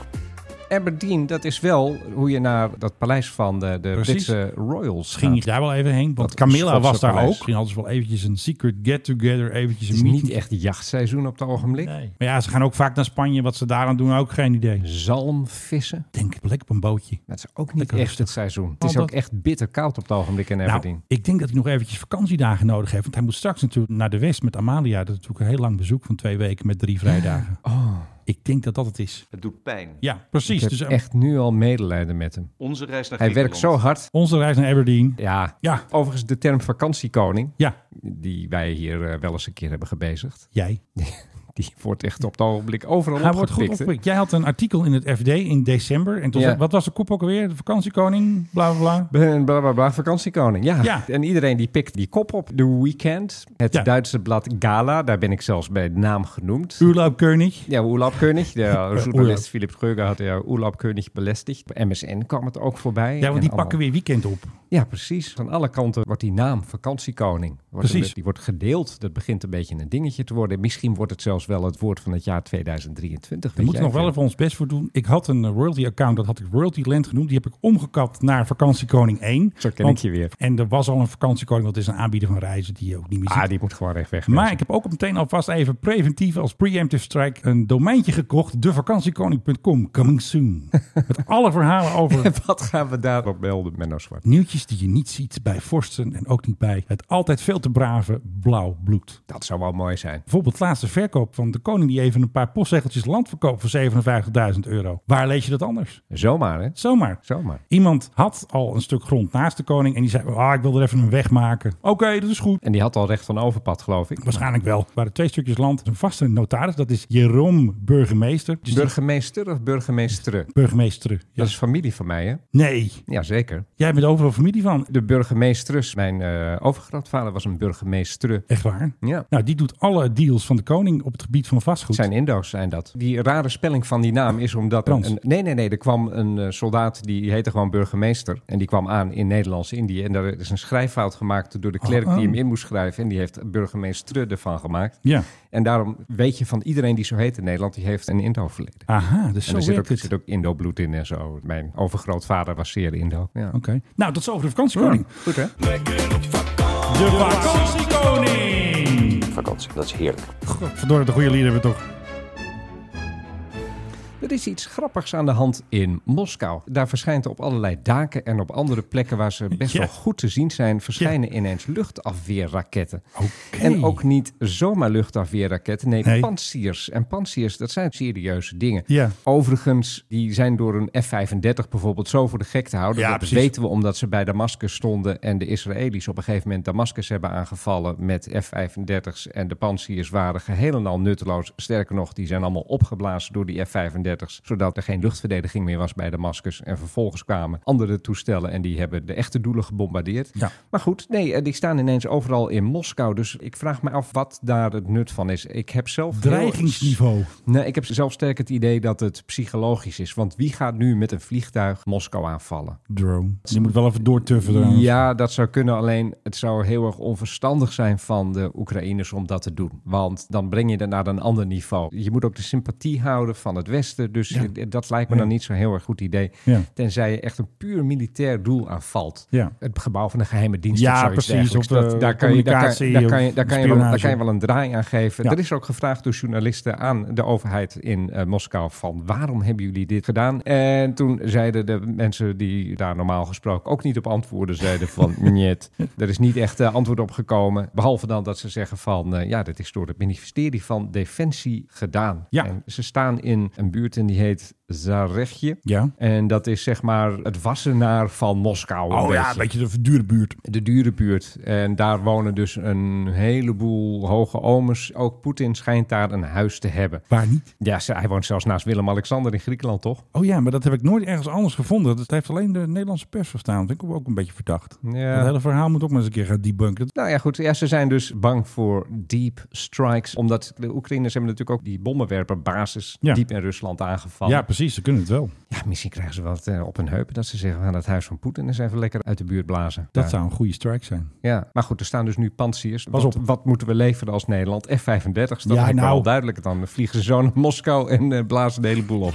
[SPEAKER 11] Aberdeen, dat is wel hoe je naar dat paleis van de, de
[SPEAKER 10] Precies.
[SPEAKER 11] Britse royals
[SPEAKER 10] Ging ik
[SPEAKER 11] gaat.
[SPEAKER 10] daar wel even heen, want
[SPEAKER 11] Dat
[SPEAKER 10] Camilla was
[SPEAKER 11] Schotse
[SPEAKER 10] daar
[SPEAKER 11] paleis.
[SPEAKER 10] ook. Ging hadden ze wel eventjes een secret get-together, eventjes
[SPEAKER 11] Het
[SPEAKER 10] een
[SPEAKER 11] is
[SPEAKER 10] meeting.
[SPEAKER 11] niet echt jachtseizoen op het ogenblik.
[SPEAKER 10] Nee. Maar ja, ze gaan ook vaak naar Spanje. Wat ze daaraan doen, ook geen idee.
[SPEAKER 11] Zalm vissen.
[SPEAKER 10] Denk ik, lekker op een bootje.
[SPEAKER 11] Dat is ook niet echt het seizoen. Het is
[SPEAKER 10] Al
[SPEAKER 11] ook
[SPEAKER 10] dat-
[SPEAKER 11] echt bitter koud op het ogenblik in Aberdeen.
[SPEAKER 10] Nou, ik denk dat hij nog eventjes vakantiedagen nodig heeft. Want hij moet straks natuurlijk naar de West met Amalia. Dat is natuurlijk een heel lang bezoek van twee weken met drie vrijdagen.
[SPEAKER 11] Oh.
[SPEAKER 10] Ik Ik denk dat dat het is.
[SPEAKER 19] Het doet pijn.
[SPEAKER 10] Ja, precies.
[SPEAKER 11] Ik heb
[SPEAKER 10] Dus, eh,
[SPEAKER 11] echt nu al medelijden met hem.
[SPEAKER 19] Onze reis naar
[SPEAKER 11] Hij werkt zo
[SPEAKER 19] Griekenland.
[SPEAKER 11] hard.
[SPEAKER 10] Onze reis naar Aberdeen.
[SPEAKER 11] Ja.
[SPEAKER 10] ja.
[SPEAKER 11] Overigens de term vakantiekoning.
[SPEAKER 10] Ja.
[SPEAKER 11] Die wij hier eh, wel eens een keer hebben gebezigd.
[SPEAKER 10] Jij. Nou,
[SPEAKER 11] Die wordt echt op het ogenblik overal
[SPEAKER 10] Hij wordt
[SPEAKER 11] opgepikt.
[SPEAKER 10] goed
[SPEAKER 11] hè?
[SPEAKER 10] opgepikt. Jij had een artikel in het FD in december. En toen
[SPEAKER 11] Ja.
[SPEAKER 10] zei- wat was de kop ook alweer? De vakantiekoning, bla bla bla.
[SPEAKER 11] Ben- Bla bla bla, vakantiekoning. Ja.
[SPEAKER 10] Ja.
[SPEAKER 11] en iedereen die pikt die kop op. The Weekend, het Duitse blad Gala, daar ben ik zelfs bij de naam genoemd.
[SPEAKER 10] Urlaub König.
[SPEAKER 11] Ja, Urlaub König. De
[SPEAKER 10] Urlaub.
[SPEAKER 11] journalist Philip Kreuger had ja Urlaub König belästigd. Op MSN kwam het ook voorbij.
[SPEAKER 10] Ja,
[SPEAKER 11] En
[SPEAKER 10] want die
[SPEAKER 11] allemaal-
[SPEAKER 10] pakken weer weekend op.
[SPEAKER 11] Ja, precies. Van alle kanten wordt die naam vakantiekoning. Wordt
[SPEAKER 10] Precies.
[SPEAKER 11] een- die wordt gedeeld. Dat begint een beetje een dingetje te worden. Misschien wordt het zelfs wel het woord van het jaar 2023.
[SPEAKER 10] We
[SPEAKER 11] weet jij
[SPEAKER 10] moeten nog wel
[SPEAKER 11] veel.
[SPEAKER 10] even ons best voor doen. Ik had een eh, royalty-account, dat had ik Royalty Land genoemd. Die heb ik omgekapt naar Vakantiekoning 1. Zo
[SPEAKER 11] ken ik je weer.
[SPEAKER 10] En er was al een Vakantiekoning, dat is een aanbieder van reizen die je ook niet meer ziet.
[SPEAKER 11] Ah, die moet gewoon echt weg.
[SPEAKER 10] Maar ik heb ook meteen alvast even preventief als preemptive strike een domeintje gekocht. Devakantiekoning.com, coming soon. Met alle verhalen over
[SPEAKER 11] Wat gaan we daarop melden, Menno Zwart?
[SPEAKER 10] nieuwtjes die je niet ziet bij Forsten en ook niet bij het altijd veel te brave blauw bloed.
[SPEAKER 11] Dat zou wel mooi zijn.
[SPEAKER 10] Bijvoorbeeld laatste verkoop van de koning die even een paar postzegeltjes land verkoopt voor 57.000 euro. Waar lees je dat anders?
[SPEAKER 11] Zomaar, hè?
[SPEAKER 10] Zomaar.
[SPEAKER 11] Zomaar.
[SPEAKER 10] Iemand had al een stuk grond naast de koning en die zei, ah, ik wil er even een weg maken. Oké, dat is goed.
[SPEAKER 11] En die had al recht van overpad, geloof ik.
[SPEAKER 10] Waarschijnlijk wel. Er waren twee stukjes land. Een vaste notaris, dat is Jeroen Burgemeester. Dus die-
[SPEAKER 11] Burgemeester of burgemeestere?
[SPEAKER 10] Burgemeester.
[SPEAKER 11] Dat is familie van mij, hè?
[SPEAKER 10] Nee,
[SPEAKER 11] Jazeker.
[SPEAKER 10] jij bent overal familie van.
[SPEAKER 11] De burgemeestrus. Mijn eh, overgrootvader was een burgemeestre.
[SPEAKER 10] Echt waar?
[SPEAKER 11] Ja.
[SPEAKER 10] Nou, die doet alle deals van de koning op het gebied van vastgoed.
[SPEAKER 11] Zijn Indo's zijn dat. Die rare spelling van die naam is omdat...
[SPEAKER 10] Frans.
[SPEAKER 11] Een, nee, nee, nee. Er kwam een eh, soldaat, die heette gewoon burgemeester. En die kwam aan in Nederlands-Indië. En daar is een schrijffout gemaakt door de klerk
[SPEAKER 10] Oh.
[SPEAKER 11] die hem in moest schrijven. En die heeft burgemeestre ervan gemaakt.
[SPEAKER 10] Ja.
[SPEAKER 11] En daarom weet je van iedereen die zo heet in Nederland, die heeft een Indo-verleden.
[SPEAKER 10] Aha, dus
[SPEAKER 11] en
[SPEAKER 10] zo
[SPEAKER 11] er zit
[SPEAKER 10] werkt
[SPEAKER 11] ook,
[SPEAKER 10] het.
[SPEAKER 11] zit ook Indo-bloed in en zo. Mijn overgrootvader was zeer Indo. Ja.
[SPEAKER 10] Oké. Nou, tot zover de vakantiekoning.
[SPEAKER 11] Goed, hè?
[SPEAKER 10] De vakantiekoning!
[SPEAKER 19] Vakantie, dat is heerlijk.
[SPEAKER 10] Verdorie, de goede lieden hebben we toch.
[SPEAKER 11] Er is iets grappigs aan de hand in Moskou. Daar verschijnt op allerlei daken en op andere plekken waar ze best
[SPEAKER 10] Ja.
[SPEAKER 11] wel goed te zien zijn, verschijnen ineens luchtafweerraketten. En ook niet zomaar luchtafweerraketten, nee,
[SPEAKER 10] Nee.
[SPEAKER 11] pansiers. En pansiers, dat zijn serieuze dingen.
[SPEAKER 10] Ja.
[SPEAKER 11] Overigens, die zijn door een F-35 bijvoorbeeld zo voor de gek te houden.
[SPEAKER 10] Ja,
[SPEAKER 11] dat
[SPEAKER 10] precies.
[SPEAKER 11] weten we omdat ze bij Damascus stonden en de Israëli's op een gegeven moment Damascus hebben aangevallen met F-35's. En de pansiers waren geheel en al nutteloos. Sterker nog, die zijn allemaal opgeblazen door die F-35's, zodat er geen luchtverdediging meer was bij Damascus. En vervolgens kwamen andere toestellen en die hebben de echte doelen gebombardeerd.
[SPEAKER 10] Ja.
[SPEAKER 11] Maar goed, nee, eh, die staan ineens overal in Moskou. Dus ik vraag me af wat daar het nut van is. Ik heb zelf heel-
[SPEAKER 10] Dreigingsniveau.
[SPEAKER 11] Nee, ik heb zelf sterk het idee dat het psychologisch is. Want wie gaat nu met een vliegtuig Moskou aanvallen?
[SPEAKER 10] Drone. Je moet wel even doortuffen. trouwens.
[SPEAKER 11] Ja, dat zou kunnen. Alleen het zou heel erg onverstandig zijn van de Oekraïners om dat te doen. Want dan breng je het naar een ander niveau. Je moet ook de sympathie houden van het Westen. Dus
[SPEAKER 10] Ja.
[SPEAKER 11] eh, dat lijkt me
[SPEAKER 10] Ja.
[SPEAKER 11] dan niet zo'n heel erg goed idee.
[SPEAKER 10] Ja.
[SPEAKER 11] Tenzij je echt een puur militair doel aanvalt.
[SPEAKER 10] Ja.
[SPEAKER 11] Het gebouw van de geheime dienst
[SPEAKER 10] Ja,
[SPEAKER 11] of zoiets
[SPEAKER 10] precies.
[SPEAKER 11] dergelijks.
[SPEAKER 10] Of,
[SPEAKER 11] Dat-
[SPEAKER 10] eh,
[SPEAKER 11] daar kan je- daar kan-
[SPEAKER 10] communicatie
[SPEAKER 11] daar kan
[SPEAKER 10] of
[SPEAKER 11] je- daar kan je wel- daar
[SPEAKER 10] spionage.
[SPEAKER 11] kan je wel een draai aan geven.
[SPEAKER 10] Ja.
[SPEAKER 11] Er is ook gevraagd door journalisten aan de overheid in eh, Moskou van waarom hebben jullie dit gedaan? En toen zeiden de mensen die daar normaal gesproken ook niet op antwoorden, zeiden van niet, er is niet echt eh, antwoord op gekomen. Behalve dan dat ze zeggen van eh, ja, dit is door het ministerie van Defensie gedaan.
[SPEAKER 10] Ja.
[SPEAKER 11] En ze staan in een buurt en die heet Zarechtje.
[SPEAKER 10] Ja.
[SPEAKER 11] En dat is zeg maar het wassenaar van Moskou.
[SPEAKER 10] Oh ja, een beetje de verdure buurt.
[SPEAKER 11] De dure buurt. En daar wonen dus een heleboel hoge omers. Ook Poetin schijnt daar een huis te hebben.
[SPEAKER 10] Waar niet?
[SPEAKER 11] Ja, ze- hij woont zelfs naast Willem-Alexander in Griekenland, toch?
[SPEAKER 10] Oh ja, maar dat heb ik nooit ergens anders gevonden. Dat heeft alleen de Nederlandse pers verstaan. Dat vind ik ook een beetje verdacht.
[SPEAKER 11] Ja.
[SPEAKER 10] Dat hele verhaal moet ook maar eens een keer gaan debunken.
[SPEAKER 11] Nou ja, goed. Ja, ze zijn dus bang voor deep strikes. Omdat de Oekraïners hebben natuurlijk ook die bommenwerperbasis
[SPEAKER 10] Ja.
[SPEAKER 11] diep in Rusland aangevallen.
[SPEAKER 10] Ja, precies. Ze kunnen het wel.
[SPEAKER 11] Ja, misschien krijgen ze wat eh, op hun heupen dat ze zeggen... we gaan het huis van Poetin eens even lekker uit de buurt blazen.
[SPEAKER 10] Dat
[SPEAKER 11] Ja.
[SPEAKER 10] zou een goede strike zijn.
[SPEAKER 11] Ja, maar goed, er staan dus nu pansiers.
[SPEAKER 10] Pas
[SPEAKER 11] wat,
[SPEAKER 10] op.
[SPEAKER 11] wat moeten we leveren als Nederland? F-35, dat is
[SPEAKER 10] Ja,
[SPEAKER 11] lijkt me
[SPEAKER 10] nou.
[SPEAKER 11] wel duidelijk. Dan vliegen ze zo naar Moskou en eh, blazen de hele boel op.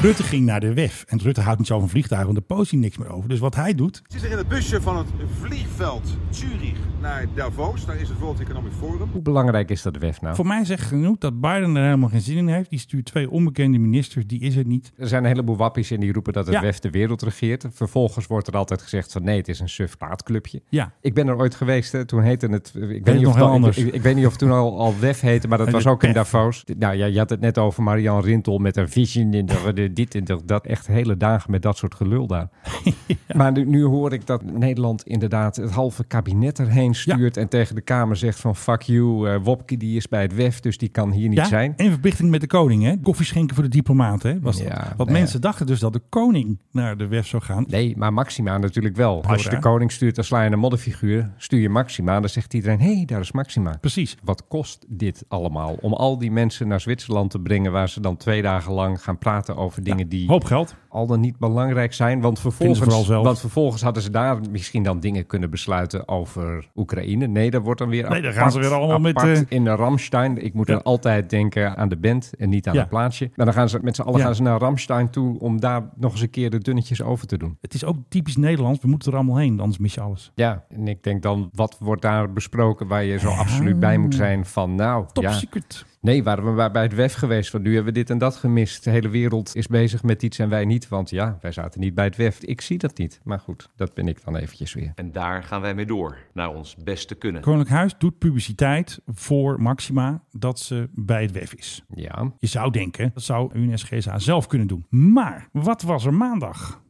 [SPEAKER 10] Rutte ging naar de WEF. En Rutte houdt niet zo van vliegtuigen, want daar post hij niks meer over. Dus wat hij doet,
[SPEAKER 4] Zit er in het busje van het vliegveld Zurich naar Davos. Daar is het World Economic Forum.
[SPEAKER 11] Hoe belangrijk is dat WEF nou?
[SPEAKER 10] Voor mij zegt genoeg dat Biden er helemaal geen zin in heeft. Die stuurt twee onbekende ministers, die is er niet.
[SPEAKER 11] Er zijn een heleboel wappies en die roepen dat het
[SPEAKER 10] Ja.
[SPEAKER 11] WEF de wereld regeert. Vervolgens wordt er altijd gezegd van nee, het is een suf plaatclubje.
[SPEAKER 10] Ja.
[SPEAKER 11] Ik ben er ooit geweest, hè. toen heette het... eh, Ik
[SPEAKER 10] het
[SPEAKER 11] weet, niet
[SPEAKER 10] nog
[SPEAKER 11] of het al-
[SPEAKER 10] heel anders.
[SPEAKER 11] Ik, ik- ik weet niet of het toen al, al WEF heette, maar dat
[SPEAKER 10] Heet
[SPEAKER 11] was
[SPEAKER 10] het
[SPEAKER 11] ook in
[SPEAKER 10] PEF.
[SPEAKER 11] Davos. Nou ja, je had het net over Marian Rintel met haar vision in de, de- dit en de- dat. Echt hele dagen met dat soort gelul daar. Maar nu, nu hoor ik dat Nederland inderdaad het halve kabinet erheen stuurt... en tegen de Kamer zegt van fuck you, eh, Wopke die is bij het WEF, dus die kan hier niet
[SPEAKER 10] Ja,
[SPEAKER 11] zijn.
[SPEAKER 10] En verplichting met de koning, hè? Koffie schenken voor de diplomaten. Hè? Was dat.
[SPEAKER 11] Ja,
[SPEAKER 10] Want
[SPEAKER 11] nee.
[SPEAKER 10] mensen dachten dus dat de koning naar de WEF zou gaan.
[SPEAKER 11] Nee, maar Maxima natuurlijk wel. Als je de
[SPEAKER 10] raar.
[SPEAKER 11] koning stuurt, dan sla je een modderfiguur. Stuur je Maxima, dan zegt iedereen... hé, hey, daar is Maxima.
[SPEAKER 10] Precies.
[SPEAKER 11] Wat kost dit allemaal? Om al die mensen naar Zwitserland te brengen... waar ze dan twee dagen lang gaan praten over dingen die...
[SPEAKER 10] Nou, Hoop geld.
[SPEAKER 11] al dan niet belangrijk zijn. Want
[SPEAKER 10] Vinden ze vooral
[SPEAKER 11] vervolgens,
[SPEAKER 10] zelf.
[SPEAKER 11] want vervolgens hadden ze daar misschien dan dingen kunnen besluiten over Oekraïne. Nee, daar wordt dan weer
[SPEAKER 10] Nee, daar
[SPEAKER 11] apart,
[SPEAKER 10] gaan ze weer allemaal met,
[SPEAKER 11] apart
[SPEAKER 10] eh,
[SPEAKER 11] in de Ramstein. Ik moet
[SPEAKER 10] Ja.
[SPEAKER 11] dan altijd denken aan de band en niet aan
[SPEAKER 10] Ja.
[SPEAKER 11] het plaatsje. Maar dan gaan ze met z'n allen
[SPEAKER 10] Ja.
[SPEAKER 11] gaan ze naar Ramstein toe... om daar nog eens een keer de dunnetjes over te doen.
[SPEAKER 10] Het is ook typisch Nederlands. We moeten er allemaal heen, anders mis je alles.
[SPEAKER 11] Ja, en ik denk dan, wat wordt daar besproken waar je zo absoluut bij
[SPEAKER 10] Ah.
[SPEAKER 11] moet zijn van nou...
[SPEAKER 10] Top
[SPEAKER 11] ja.
[SPEAKER 10] secret.
[SPEAKER 11] Nee, waren we maar bij het WEF geweest, want nu hebben we dit en dat gemist. De hele wereld is bezig met iets en wij niet, want ja, wij zaten niet bij het WEF. Ik zie dat niet, maar goed, dat ben ik dan eventjes weer.
[SPEAKER 19] En daar gaan wij mee door, naar ons beste kunnen.
[SPEAKER 10] Koninklijk Huis doet publiciteit voor Maxima dat ze bij het WEF is.
[SPEAKER 11] Ja.
[SPEAKER 10] Je zou denken, dat zou UNSGSA zelf kunnen doen. Maar wat was er maandag?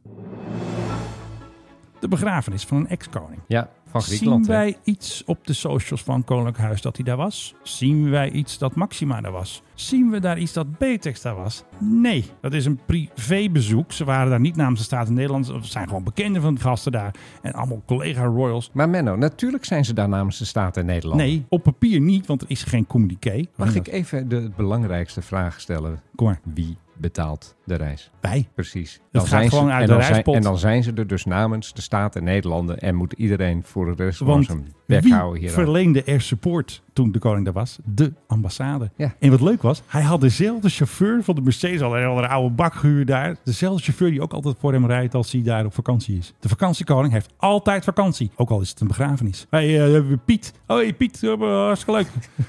[SPEAKER 10] De begrafenis van een ex-koning.
[SPEAKER 11] Ja, van Griekenland.
[SPEAKER 10] Zien
[SPEAKER 11] hè?
[SPEAKER 10] wij iets op de socials van Koninklijk Huis dat hij daar was? Zien wij iets dat Maxima daar was? Zien we daar iets dat Betex daar was? Nee, dat is een privébezoek. Ze waren daar niet namens de staat in Nederland. Ze zijn gewoon bekenden van de gasten daar. En allemaal collega royals.
[SPEAKER 11] Maar Menno, natuurlijk zijn ze daar namens de staat in Nederland.
[SPEAKER 10] Nee, op papier niet, want er is geen communiqué.
[SPEAKER 11] Mag ik e- even de belangrijkste vraag stellen?
[SPEAKER 10] Kom maar.
[SPEAKER 11] Wie betaalt de reis?
[SPEAKER 10] Wij.
[SPEAKER 11] Precies.
[SPEAKER 10] gaat gewoon uit
[SPEAKER 11] en
[SPEAKER 10] de
[SPEAKER 11] dan zijn-
[SPEAKER 10] reispot.
[SPEAKER 11] en dan zijn ze er dus namens de staat en Nederlanden. En moet iedereen voor de rest van
[SPEAKER 10] Want
[SPEAKER 11] zijn bek houden
[SPEAKER 10] wie
[SPEAKER 11] hier.
[SPEAKER 10] verleende er support toen de koning daar was? De ambassade.
[SPEAKER 11] Ja.
[SPEAKER 10] En wat leuk was, hij had dezelfde chauffeur van de Mercedes, al een andere oude bak gehuurd daar. Dezelfde chauffeur die ook altijd voor hem rijdt als hij daar op vakantie is. De vakantiekoning heeft altijd vakantie, ook al is het een begrafenis. Hé, hey, eh, hebben we Piet. Hoi Piet, eh, hartstikke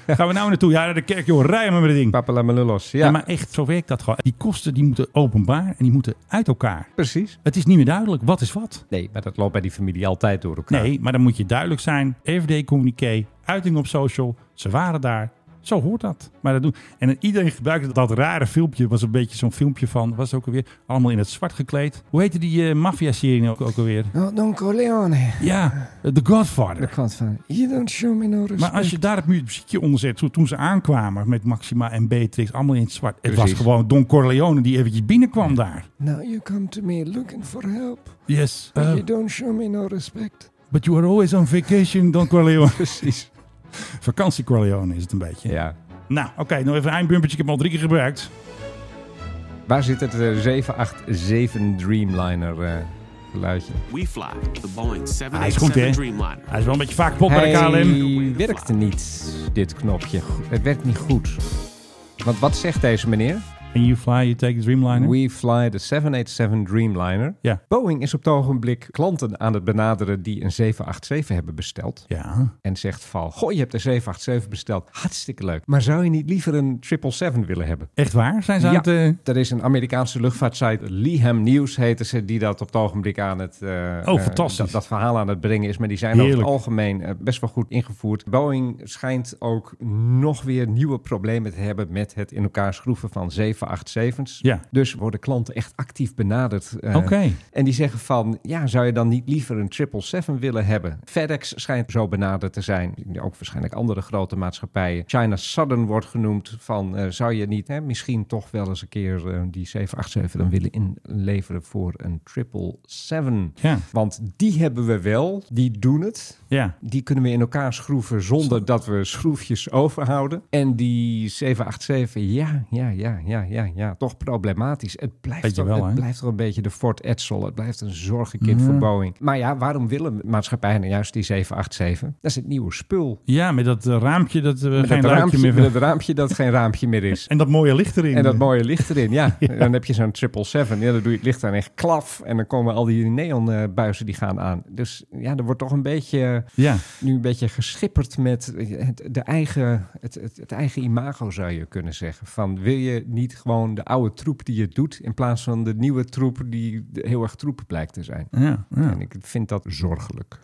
[SPEAKER 10] leuk. Gaan we nou naartoe? Ja, naar de kerk joh, rij maar met het ding.
[SPEAKER 11] Papala Melulos, ja.
[SPEAKER 10] Ja, maar echt, zo werkt dat gewoon. Die kosten die moeten openbaar en die moeten uit elkaar.
[SPEAKER 11] Precies.
[SPEAKER 10] Het is niet meer duidelijk, wat is wat?
[SPEAKER 11] Nee, maar dat loopt bij die familie altijd door elkaar.
[SPEAKER 10] Nee, maar dan moet je duidelijk zijn. RVD-communiqué, uiting op social. Ze waren daar. Zo hoort dat. Maar dat doen. En iedereen gebruikte dat rare filmpje. was een beetje zo'n filmpje van. Was ook alweer allemaal in het zwart gekleed. Hoe heette die eh maffia-serie nou ook, ook alweer?
[SPEAKER 11] Don Corleone.
[SPEAKER 10] Ja, eh, The Godfather.
[SPEAKER 11] van, you don't show me no respect.
[SPEAKER 10] Maar als je daar het mu- muziekje onder zet, zo toen ze aankwamen met Maxima en Beatrix, allemaal in het zwart. Het was
[SPEAKER 11] Precies.
[SPEAKER 10] gewoon Don Corleone die eventjes binnenkwam daar.
[SPEAKER 11] Now you come to me looking for help.
[SPEAKER 10] Yes. uh,
[SPEAKER 11] don't show me no respect.
[SPEAKER 10] but you are always on vacation, Don Corleone.
[SPEAKER 11] Precies.
[SPEAKER 10] Vakantie Corleone is het een beetje.
[SPEAKER 11] Ja.
[SPEAKER 10] Nou, oké, nog even een eindbumpertje. Ik heb hem al drie keer gebruikt.
[SPEAKER 11] Waar zit het eh, 787 Dreamliner eh, geluidje?
[SPEAKER 20] We fly the Boeing
[SPEAKER 10] Hij Ah, is goed, hè?
[SPEAKER 20] 787 Dreamliner.
[SPEAKER 10] Hij is wel een beetje vaak kapot bij de KLM.
[SPEAKER 11] Hij werkte niet, dit knopje. Het werkt niet goed. Want wat zegt deze meneer?
[SPEAKER 10] And you fly, you take the Dreamliner.
[SPEAKER 11] We fly the 787 Dreamliner.
[SPEAKER 10] Ja.
[SPEAKER 11] Boeing is op het ogenblik klanten aan het benaderen die een 787 hebben besteld.
[SPEAKER 10] Ja.
[SPEAKER 11] En zegt van, goh, je hebt een 787 besteld. Hartstikke leuk. Maar zou je niet liever een 777 willen hebben?
[SPEAKER 10] Echt waar? Zijn ze
[SPEAKER 11] ja,
[SPEAKER 10] aan het... eh,
[SPEAKER 11] er is een Amerikaanse luchtvaartsite, Leham News heten ze, die dat op het ogenblik aan het... eh, eh,
[SPEAKER 10] Oh, fantastisch.
[SPEAKER 11] dat, dat verhaal aan het brengen is, maar die zijn over
[SPEAKER 10] Heerlijk.
[SPEAKER 11] het algemeen eh, best wel goed ingevoerd. Boeing schijnt ook nog weer nieuwe problemen te hebben met het in elkaar schroeven van 787's.
[SPEAKER 10] Ja.
[SPEAKER 11] Dus worden klanten echt actief benaderd. eh,
[SPEAKER 10] Oké.
[SPEAKER 11] En die zeggen van, ja, zou je dan niet liever een 777 willen hebben? FedEx schijnt zo benaderd te zijn. Ook waarschijnlijk andere grote maatschappijen. China Southern wordt genoemd van, eh, zou je niet hè, misschien toch wel eens een keer eh, die 787 dan willen inleveren voor een 777?
[SPEAKER 10] Ja.
[SPEAKER 11] Want die hebben we wel, die doen het.
[SPEAKER 10] Ja.
[SPEAKER 11] Die kunnen we in elkaar schroeven zonder dat we schroefjes overhouden. En die 787, ja, ja, ja, ja, ja. ja, ja, toch problematisch. Het blijft,
[SPEAKER 10] Weet je
[SPEAKER 11] toch,
[SPEAKER 10] wel,
[SPEAKER 11] het
[SPEAKER 10] hè? Mhm.
[SPEAKER 11] blijft toch een beetje de Ford Edsel. Het blijft een zorgenkind
[SPEAKER 10] Ja.
[SPEAKER 11] voor Boeing. Maar ja, waarom willen maatschappijen nou juist die 787? Dat is het nieuwe spul.
[SPEAKER 10] Ja, met dat eh, raampje dat we
[SPEAKER 11] Met
[SPEAKER 10] geen
[SPEAKER 11] dat
[SPEAKER 10] raampje
[SPEAKER 11] raampje-
[SPEAKER 10] meer
[SPEAKER 11] met dat raampje dat geen raampje meer is.
[SPEAKER 10] En dat mooie licht erin.
[SPEAKER 11] En dat mooie licht erin, ja. Dan heb je zo'n 777. Ja, dan doe je het licht aan echt klaf. En dan komen al die neonbuizen die gaan aan. Dus ja, er wordt toch een beetje...
[SPEAKER 10] Ja.
[SPEAKER 11] Nu een beetje geschipperd met het, de eigen, het, het, het eigen imago, zou je kunnen zeggen. Van wil je niet gewoon de oude troep die je doet... in plaats van de nieuwe troep die heel erg troep blijkt te zijn.
[SPEAKER 10] Ja, ja.
[SPEAKER 11] En ik vind dat zorgelijk.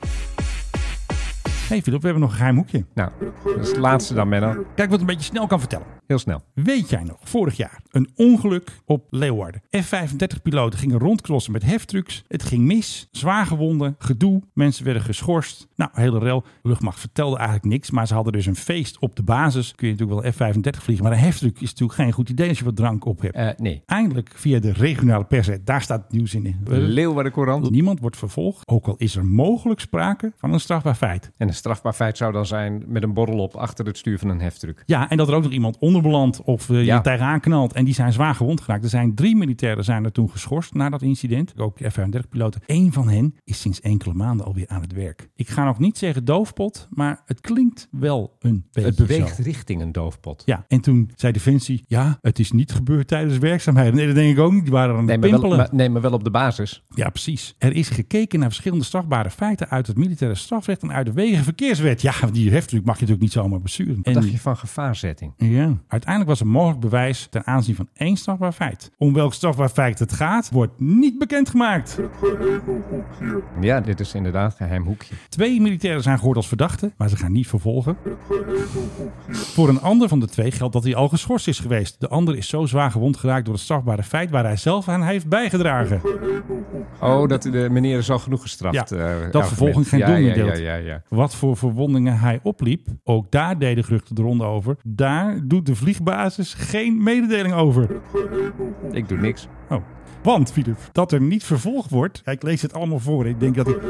[SPEAKER 10] Hey Filip, we hebben nog een geheim hoekje.
[SPEAKER 11] Nou, dat is het laatste dan, Menno.
[SPEAKER 10] Kijk wat een beetje snel kan vertellen.
[SPEAKER 11] Heel snel.
[SPEAKER 10] Weet jij nog, vorig jaar, een ongeluk op Leeuwarden. F-35-piloten gingen rondklossen met heftrucks. Het ging mis, zwaar gewonden, gedoe, mensen werden geschorst. Nou, hele rel. Luchtmacht vertelde eigenlijk niks, maar ze hadden dus een feest op de basis. Kun je natuurlijk wel F-35 vliegen, maar een heftruck is natuurlijk geen goed idee als je wat drank op hebt.
[SPEAKER 11] Eh, nee.
[SPEAKER 10] Eindelijk, via de regionale pers, hè, daar staat het nieuws in.
[SPEAKER 11] De Leeuwarden Courant.
[SPEAKER 10] Niemand wordt vervolgd, ook al is er mogelijk sprake van een strafbaar feit.
[SPEAKER 11] En een strafbaar feit zou dan zijn met een borrel op achter het stuur van een heftruck.
[SPEAKER 10] Ja, en dat er ook nog iemand onderbelandt of eh,
[SPEAKER 11] Ja.
[SPEAKER 10] je tegenaan knalt. En die zijn zwaar gewond geraakt. Er zijn drie militairen zijn er toen geschorst na dat incident. Ook F-35-piloten. Eén van hen is sinds enkele maanden alweer aan het werk. Ik ga nog niet zeggen doofpot, maar het klinkt wel een beetje
[SPEAKER 11] Het beweegt
[SPEAKER 10] zo.
[SPEAKER 11] richting een doofpot.
[SPEAKER 10] Ja, en toen zei Defensie, ja, het is niet gebeurd tijdens werkzaamheden. Nee, dat denk ik ook niet. Die waren aan het
[SPEAKER 11] Nee maar, wel,
[SPEAKER 10] pimpelen.
[SPEAKER 11] maar, nee, maar wel op de basis.
[SPEAKER 10] Ja, precies. Er is gekeken naar verschillende strafbare feiten uit het militaire strafrecht en uit de wegenverkeerswet. Ja, die heftruck mag je natuurlijk niet zomaar besturen.
[SPEAKER 11] Wat
[SPEAKER 10] En-
[SPEAKER 11] dacht je van gevaarzetting?
[SPEAKER 10] ja. Uiteindelijk was er mogelijk bewijs ten aanzien van één strafbaar feit. Om welk strafbaar feit het gaat, wordt niet bekendgemaakt.
[SPEAKER 11] Ja, dit is inderdaad geheim hoekje.
[SPEAKER 10] Twee militairen zijn gehoord als verdachten, maar ze gaan niet vervolgen. Voor een ander van de twee geldt dat hij al geschorst is geweest. De ander is zo zwaar gewond geraakt door het strafbare feit waar hij zelf aan heeft bijgedragen.
[SPEAKER 11] Oh, dat de meneer is al genoeg gestraft.
[SPEAKER 10] Eh, Ja,
[SPEAKER 11] eh, argument.
[SPEAKER 10] dat vervolgens geen
[SPEAKER 11] Ja,
[SPEAKER 10] doel
[SPEAKER 11] ja,
[SPEAKER 10] meer deelt.
[SPEAKER 11] Ja, ja, ja.
[SPEAKER 10] Wat voor verwondingen hij opliep, ook daar deden geruchten de ronde over. Daar doet de vliegbasis geen mededeling over.
[SPEAKER 11] Ik doe niks.
[SPEAKER 10] Oh. Want, Filip, dat er niet vervolgd wordt. Ja, ik lees het allemaal voor. Ik denk dat ik.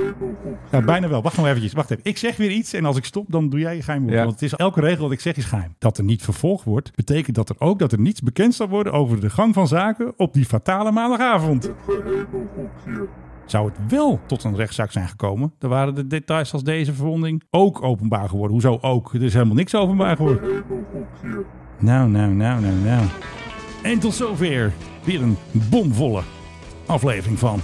[SPEAKER 10] Ja, bijna wel. Wacht nog eventjes. Wacht even. Ik zeg weer iets en als ik stop, dan doe jij je geheim. woord.
[SPEAKER 11] Ja.
[SPEAKER 10] Want het is elke regel dat ik zeg is geheim. Dat er niet vervolgd wordt, betekent dat er ook dat er niets bekend zal worden over de gang van zaken op die fatale maandagavond. Zou het wel tot een rechtszaak zijn gekomen, dan waren de details als deze verwonding ook openbaar geworden. Hoezo ook? Er is helemaal niks openbaar geworden. Nou, nou, nou, nou, nou. En tot zover weer een bomvolle aflevering van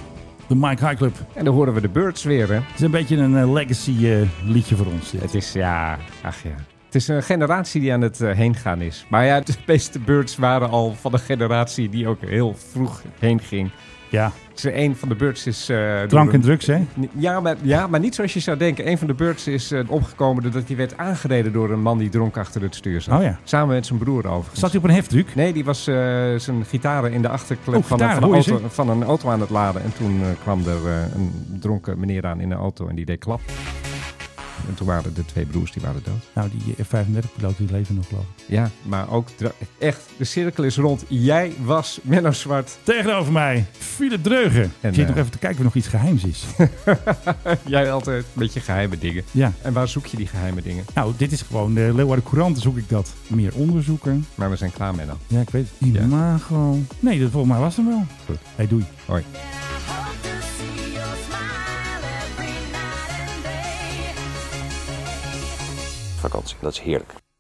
[SPEAKER 10] de Mike High Club.
[SPEAKER 11] En dan horen we de Birds weer, hè?
[SPEAKER 10] Het is een beetje een eh, legacy eh, liedje voor ons. dit.
[SPEAKER 11] Het is, ja, ach ja. Het is een generatie die aan het eh, heen gaan is. Maar ja, de meeste Birds waren al van een generatie die ook heel vroeg heen ging.
[SPEAKER 10] Ja.
[SPEAKER 11] Dus een van de Birds is... eh, door
[SPEAKER 10] Drank en
[SPEAKER 11] een-
[SPEAKER 10] drugs, hè?
[SPEAKER 11] Ja maar, ja, maar niet zoals je zou denken. Een van de Birds is eh, opgekomen doordat hij werd aangereden door een man die dronk achter het stuur zat.
[SPEAKER 10] Oh ja.
[SPEAKER 11] Samen met zijn broer overigens.
[SPEAKER 10] Zat hij op een heftruc?
[SPEAKER 11] Nee, die was eh, zijn gitaren in de achterklep
[SPEAKER 10] Oh,
[SPEAKER 11] van, een, van,
[SPEAKER 10] gitaren,
[SPEAKER 11] een
[SPEAKER 10] hoor je
[SPEAKER 11] auto, van een auto aan het laden. En toen eh, kwam er eh, een dronken meneer aan in de auto en die deed klap. En toen waren de twee broers die waren dood.
[SPEAKER 10] Nou, die F-35-piloot die leven nog, geloof ik.
[SPEAKER 11] Ja, maar ook dra- echt, de cirkel is rond. Jij was Menno Zwart.
[SPEAKER 10] Tegenover mij, Philip Dreugen.
[SPEAKER 11] En,
[SPEAKER 10] ik zit
[SPEAKER 11] eh,
[SPEAKER 10] nog even te kijken of er nog iets geheims is.
[SPEAKER 11] Jij altijd een beetje geheime dingen.
[SPEAKER 10] Ja.
[SPEAKER 11] En waar zoek je die geheime dingen?
[SPEAKER 10] nou, dit is gewoon de Leeuwarden Courant, zoek ik dat. Meer onderzoeken.
[SPEAKER 11] Maar we zijn klaar, Menno.
[SPEAKER 10] Ja, ik weet het. Imago. Nee, dat volgens mij was hem wel.
[SPEAKER 11] Goed.
[SPEAKER 10] Hey, doei.
[SPEAKER 11] Hoi.
[SPEAKER 20] Vakantie, dat is heerlijk.